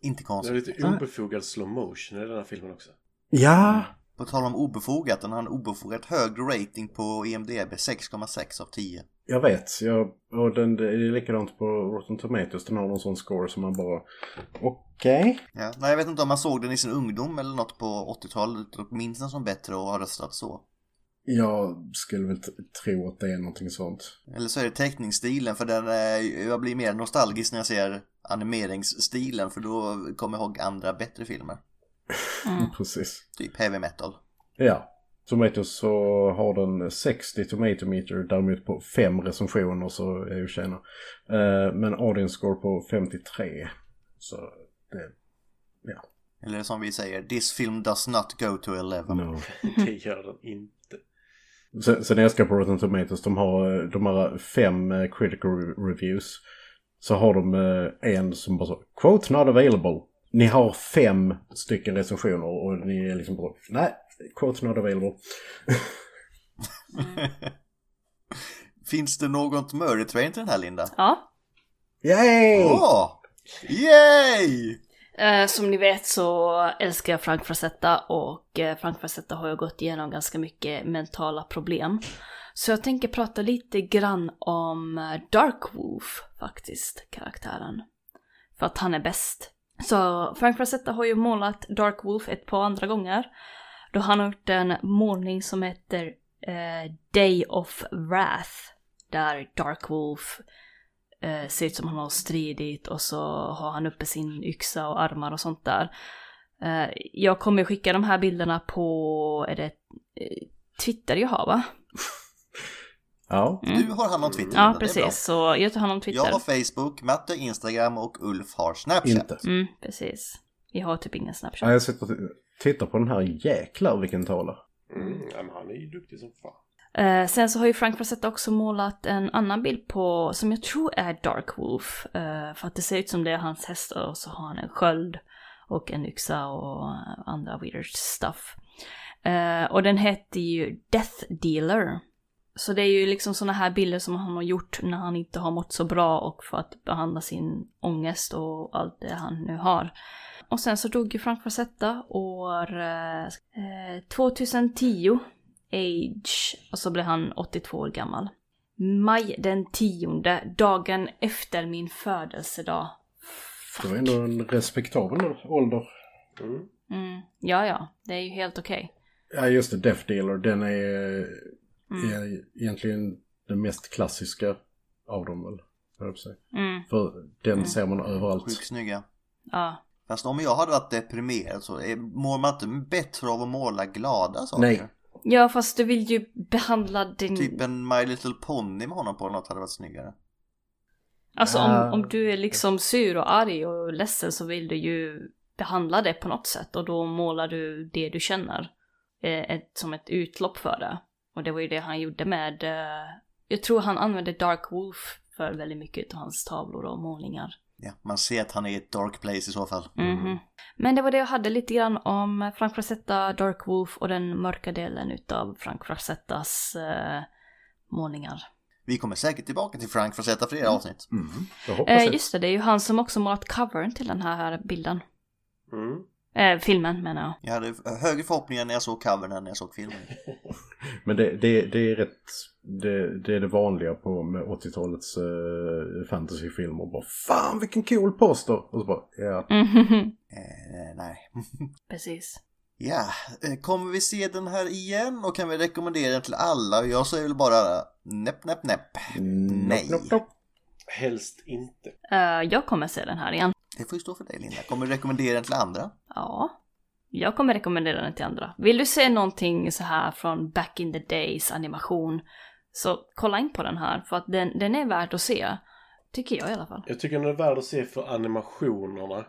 S3: Inte
S4: Det är
S3: konstigt.
S4: lite obefogad slow motion i den här filmen också.
S5: Ja,
S3: På tal om obefogat, den har en obefogat högre rating på IMDB, 6,6 av 10.
S5: Jag vet, jag, och den, det är likadant på Rotten Tomatoes. Den har någon sån score som man bara... Okej.
S3: Ja. Nej, jag vet inte om man såg den i sin ungdom eller något på 80-talet och minns den som bättre och har röstat så.
S5: Jag skulle väl t- tro att det är någonting sånt.
S3: Eller så är det teckningsstilen, för den är, jag blir mer nostalgisk när jag ser animeringsstilen, för då kommer jag ihåg andra bättre filmer.
S1: Mm.
S5: Precis.
S3: Typ heavy metal.
S5: Ja. Tomatoes så har den 60 tomato meter, däremot på fem recensioner så är ju tjäna. Eh, men audience score på 53. Så det...
S3: Eller som vi säger, this film does not go to 11.
S5: No.
S4: Det gör den inte.
S5: Sen, sen när jag ska på Rotten Tomatoes, de har, eh, de har fem eh, critical re- reviews. Så har de eh, en som bara så, quote not available. Ni har fem stycken recensioner och ni är liksom bara, nej, quote not available.
S3: [laughs] Finns det något murder train till den här, Linda?
S1: Ja.
S5: Yay!
S3: Åh! Yay!
S1: Eh, som ni vet så älskar jag Frank Frazetta och eh, Frank Frazetta har ju gått igenom ganska mycket mentala problem. Så jag tänker prata lite grann om eh, Dark Wolf faktiskt, karaktären. För att han är bäst. Så Frank Frazetta har ju målat Dark Wolf ett par andra gånger. Då han har gjort en målning som heter eh, Day of Wrath. Där Dark Wolf eh, ser ut som han har stridit och så har han uppe sin yxa och armar och sånt där. Eh, jag kommer skicka de här bilderna på, är det eh, Twitter jag har va?
S5: Ja.
S1: Mm.
S3: Du har hand om Twitter,
S1: Ja,
S3: Linda, det är bra.
S1: precis. Så jag tar hand om Twitter.
S3: Jag har Facebook, Matte Instagram och Ulf har Snapchat.
S5: Inte.
S1: Mm, precis. Jag har typ ingen Snapchat.
S5: Ja, jag sitter och tittar på den här, jäklar vilken tavla.
S4: Mm, ja, men han är ju duktig som fan.
S1: Eh, sen så har ju Frank Frazetta också målat en annan bild på, som jag tror är Dark Wolf. Eh, för att det ser ut som det är hans häst och så har han en sköld och en yxa och eh, andra weird stuff. Eh, och den heter ju Death Dealer. Så det är ju liksom såna här bilder som han har gjort när han inte har mått så bra och för att behandla sin ångest och allt det han nu har. Och sen så dog ju Frank Frazetta år eh, eh, 2010 age och så blev han 82 år gammal. Maj den 10, dagen efter min födelsedag.
S5: Det var ändå en respektabel ålder.
S4: Mm.
S1: Mm, ja, ja, det är ju helt okej.
S5: Ja, just det, Death Dealer, den är,
S1: Mm.
S5: är egentligen den mest klassiska av dem väl, höll jag på att säga.
S1: Mm,
S5: För den ser man
S3: Sjukt
S5: överallt.
S3: snygga.
S1: ja.
S3: Fast om jag hade varit deprimerad så är- mår man inte bättre av att måla glada saker.
S5: Nej.
S1: ja, fast du vill ju behandla din...
S3: Typ en My Little Pony med honom på eller något hade varit snyggare.
S1: Alltså
S5: Ja.
S1: om, om du är liksom sur och arg och ledsen så vill du ju behandla det på något sätt och då målar du det du känner eh, ett, som ett utlopp för det. Och det var ju det han gjorde med, eh, jag tror han använde Dark Wolf för väldigt mycket av hans tavlor och målningar.
S3: Ja, man ser att han är i ett dark place i så fall.
S1: Mhm. Men det var det jag hade lite grann om Frank Frazetta, Dark Wolf och den mörka delen utav Frank Frazettas eh, målningar.
S3: Vi kommer säkert tillbaka till Frank för att sätta fler avsnitt.
S5: Mm. Jag hoppas
S1: Eh,
S5: det.
S1: just det, det är ju han som också målat covern till den här bilden.
S4: Mm.
S1: Eh, filmen menar jag.
S3: Jag hade högre förhoppningar när jag såg covern än när jag såg filmen.
S5: Men det, det, det är rätt, det, det är det vanliga på med 80-talets eh, fantasyfilmer. Bara, Fan vilken cool poster! Och så bara, ja.
S1: Mhm.
S3: Eh, nej.
S1: Precis.
S3: Ja, eh, kommer vi se den här igen och kan vi rekommendera den till alla? Jag säger väl bara näpp, näpp, näpp. Nej.
S5: Knopp, knopp, knopp.
S4: Helst inte.
S1: Eh, jag kommer se den här igen.
S3: Det får ju stå för dig Linda. Kommer du rekommendera den till andra?
S1: Ja. Jag kommer rekommendera den till andra. Vill du se någonting så här från back in the days animation så kolla in på den här för att den, den är värd att se. Tycker jag i alla fall.
S4: Jag tycker den är värd att se för animationerna.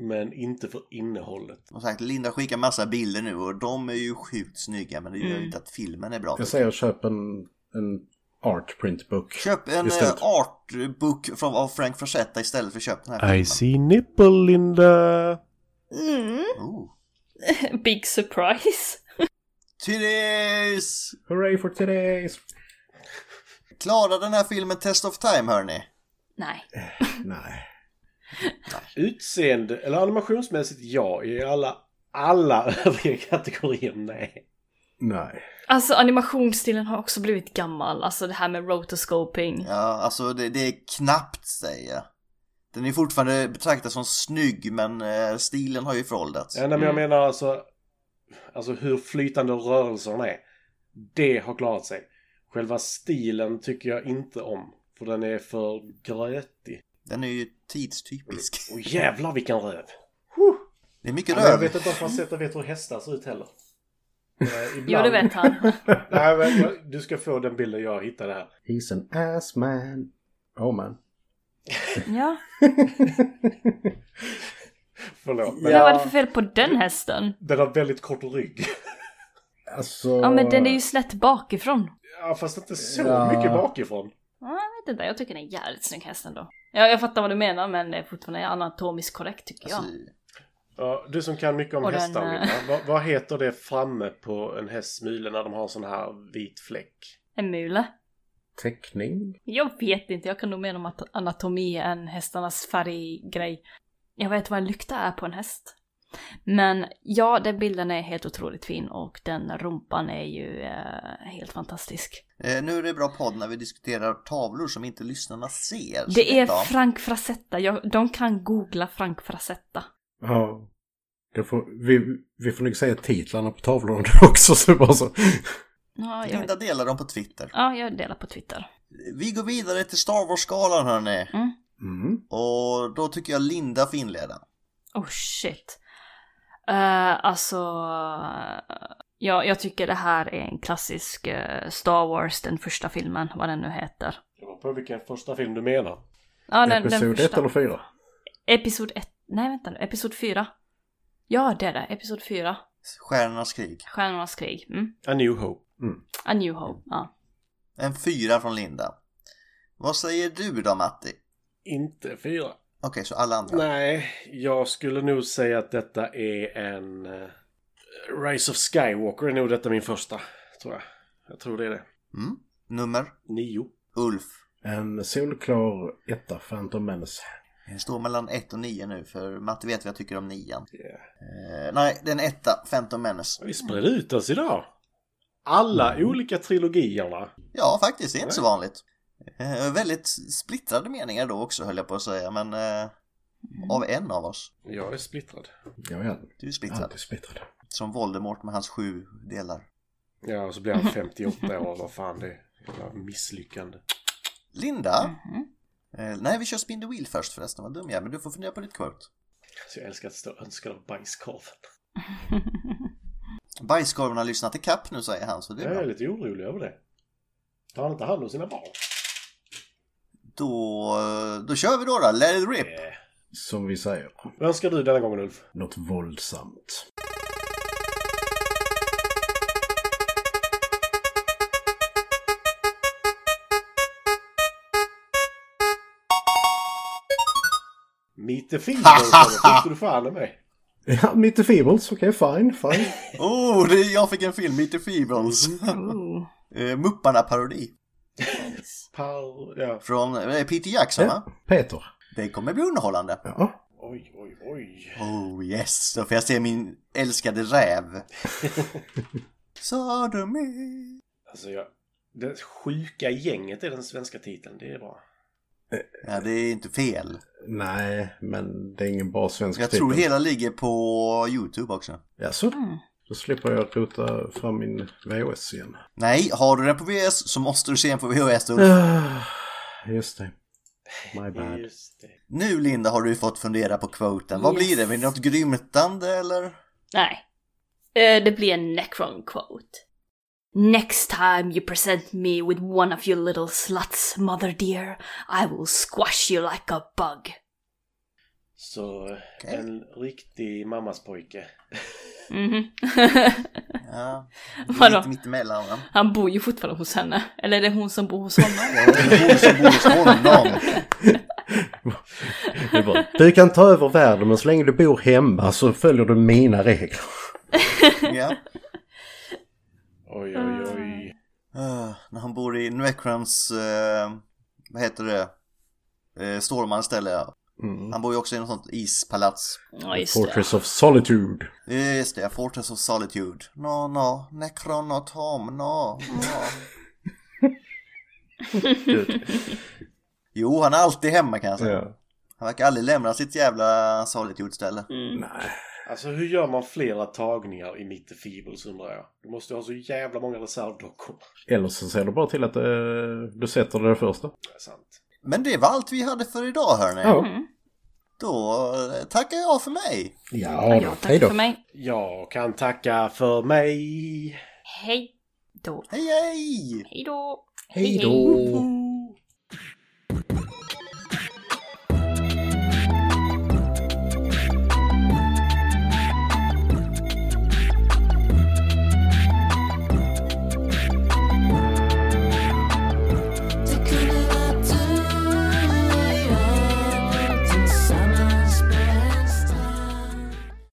S4: Men inte för innehållet.
S3: Som sagt, Linda skickar massa bilder nu och de är ju sjukt snygga men det gör ju
S1: Mm.
S3: inte att filmen är bra.
S5: Jag säger köp en, en art printbook.
S3: Köp en
S5: Istället.
S3: eh, artbook från, av Frank Frazetta istället för köp den här
S4: I see nipple, Linda!
S3: Oh.
S1: [laughs] Big surprise!
S3: Therese!
S5: Hooray for today's!
S3: Klara den här filmen Test of Time hörni.
S1: Nej.
S5: Nej.
S4: Utseende, eller animationsmässigt ja. I alla, alla [laughs] övriga kategorier nej.
S5: Nej.
S1: Alltså animationsstilen har också blivit gammal, alltså det här med rotoscoping.
S3: Ja, alltså det, det är knappt säger jag. Den är fortfarande betraktad som snygg men eh, stilen har ju föråldrats.
S4: Ja, nej, men jag menar alltså, alltså hur flytande rörelserna är. Det har klarat sig. Själva stilen tycker jag inte om. För den är för grötig.
S3: Den är ju tidstypisk.
S4: Och jävlar vilken röv!
S3: Det är mycket
S4: Jag
S3: röv.
S4: vet inte om Frazetta vet hur hästar ser ut heller.
S1: [laughs]
S4: Eh,
S1: Jo, det
S4: ibland-
S1: vet han.
S4: Nej, men jag, du ska få den bilden jag hittade här.
S5: He's an ass man. Oh [laughs] man.
S1: Ja.
S4: Förlåt. Men
S1: Vad var det för fel på den hästen?
S4: Den har väldigt kort rygg. [laughs]
S5: Alltså...
S1: Ja, men den är ju snett bakifrån.
S4: Ja, fast inte så
S5: Ja.
S4: mycket bakifrån.
S1: Ja, jag vet inte, jag tycker den är jävligt snygg häst ändå. Ja, jag fattar vad du menar, men det är fortfarande anatomiskt korrekt tycker jag.
S3: Alltså,
S4: Ja, du som kan mycket om
S1: Och den,
S4: hästar,
S1: eh,
S4: Linda, vad, vad heter det framme på en hästs mule när de har sån här vit fläck?
S1: En mule.
S5: Teckning?
S1: Jag vet inte, jag kan nog mer om at- anatomi än hästarnas färggrej. Jag vet vad en lykta är på en häst. Men ja, den bilden är helt otroligt fin och den rumpan är ju eh, helt fantastisk.
S3: eh, nu är det bra podd när vi diskuterar tavlor som inte lyssnarna ser. Så
S1: Det är
S3: bra.
S1: Frank Frazetta, jag, de kan googla Frank Frazetta.
S5: Ja. Det får, vi, vi får nog säga titlarna på tavlorna [laughs] då också. Så bara så.
S1: Ja, jag, vet.
S3: Linda delar dem på Twitter.
S1: ja, jag delar på Twitter.
S3: Vi går vidare till Star Wars-skalan hörni.
S5: Mm.
S3: Och då tycker jag Linda får inleda.
S1: Oh shit. Eh, alltså, eh, ja, jag tycker det här är en klassisk eh, Star Wars, den första filmen, vad den nu heter.
S4: Det var på vilken första film du menar.
S1: Ja, den, den
S5: Episod
S1: första.
S5: 1 eller 4?
S1: Episod 1, nej vänta nu, episod 4. Ja, det är det, episod 4.
S3: Stjärnornas krig.
S1: Stjärnornas krig. Mm.
S4: A New Hope.
S1: A New Hope, ja.
S3: En fyra från Linda. Vad säger du då Matti? Okej,
S4: Inte fyra.
S3: så alla andra.
S4: Nej, jag skulle nog säga att detta är en... eh, Rise of Skywalker är nog detta min första, tror jag. Jag tror det är det.
S3: Mm. Nummer?
S4: Nio.
S3: Ulf.
S5: En solklar etta, Phantom Menace.
S3: Det står mellan 1 och 9 nu för Matti vet vad jag tycker om 9.
S4: Yeah.
S3: Eh, nej, den etta, Phantom Menace.
S4: Vi spred ut oss idag. Alla olika trilogierna.
S3: Ja, faktiskt, det är inte så vanligt. Eh, väldigt splittrade meningar då också höll jag på att säga, men eh, av en av oss.
S4: Jag är splittrad.
S5: Ja, ja.
S3: Du är splittrad.
S5: Alltid splittrad.
S3: Som Voldemort med hans sju delar.
S4: Ja, och så blir han 58 år. Vad fan det är. Jävla misslyckande.
S3: Linda?
S1: Mhm.
S3: Eh, nej, vi kör Spin the Wheel först förresten, vad dum jag är, men du får fundera på ditt kort.
S4: Alltså, jag älskar att stå önskad av bajskorven.
S3: Bajskorven har lyssnat i kapp nu säger han, så det är
S4: Jag är
S3: bra.
S4: lite orolig över det. Tar han inte hand om sina barn?
S3: Då, eh, då kör vi då då, let it rip!
S4: Eh,
S5: Som vi säger,
S4: Vad önskar du denna gången Ulf?
S5: något våldsamt.
S4: Meet the Feebles! Det tyckte du fan i mig.
S5: Ja, mitt i Feebles, okej, fine,
S1: [laughs]
S5: fine.
S3: Oh, det, jag fick en film, Meet the Feebles!
S1: Ooh.
S3: eh, Mupparna-parodi.
S4: Par... Ja.
S3: Från eh, Peter Jackson, va?
S5: Peter.
S3: Det kommer bli underhållande.
S5: Ja.
S4: Oj, oj, oj.
S3: Oh yes, då får jag se min älskade räv. Sodomy.
S4: Alltså, jag... Det sjuka gänget är den svenska titeln. Det är bra.
S3: Ja, det är inte fel.
S5: Nej, men det är ingen bra svensk
S3: Jag
S5: titel.
S3: tror hela ligger på YouTube också.
S5: Ja, så.
S1: Mm.
S5: Då slipper jag rota fram min VHS igen.
S3: Nej, har du den på VHS så måste du se den på VHS. Ulf.
S5: Ah, Just det. My bad.
S4: Just det.
S3: Nu Linda har du fått fundera på kvoten. Vad
S1: Yes.
S3: blir det? Blir det något grymtande eller?
S1: Nej. Eh, Det blir en Necron quote. Next time you present me with one of your little sluts, mother dear, I will squash you like a bug.
S4: Så eh, en riktig mammas pojke.
S1: Mhm. [laughs]
S3: Ja,
S1: Vadå?
S3: mitt, mitt emellan va?
S1: Han bor ju fortfarande hos henne. Eller är det hon som bor hos honom?
S3: Hon som bor hos honom.
S5: [laughs] Det är bra. Du kan ta över världen men så länge du bor hemma så följer du mina regler.
S3: Ja.
S4: Oj, oj, oj.
S3: Ah, när han bor i Necrons, eh, vad heter det, eh, Stormans ställe ja.
S5: Mm.
S3: Han bor ju också i något sånt ispalats.
S1: Ja, just det.
S5: Fortress of Solitude.
S3: Eh, Just det, Fortress of Solitude. No, no, Necron not home, no, no.
S5: [laughs]
S3: Jo, han är alltid hemma kan jag säga.
S5: Ja.
S3: Han verkar aldrig lämna sitt jävla Solitude-ställe.
S1: Mm.
S4: Alltså hur gör man flera tagningar i 90 feebles undrar jag? Du måste ju ha så jävla många reservdockor.
S5: Eller så ser du bara till att eh, du sätter det första.
S4: Det är sant.
S3: Men det var allt vi hade för idag hörni.
S5: Ja.
S1: Mm.
S3: Då eh, tackar jag för mig.
S5: Ja,
S1: Ja,
S5: Hej
S1: tack
S5: då.
S1: för mig.
S4: Jag kan tacka för mig.
S1: Hej då.
S3: Hej hej!
S1: Hej då.
S5: Hej då.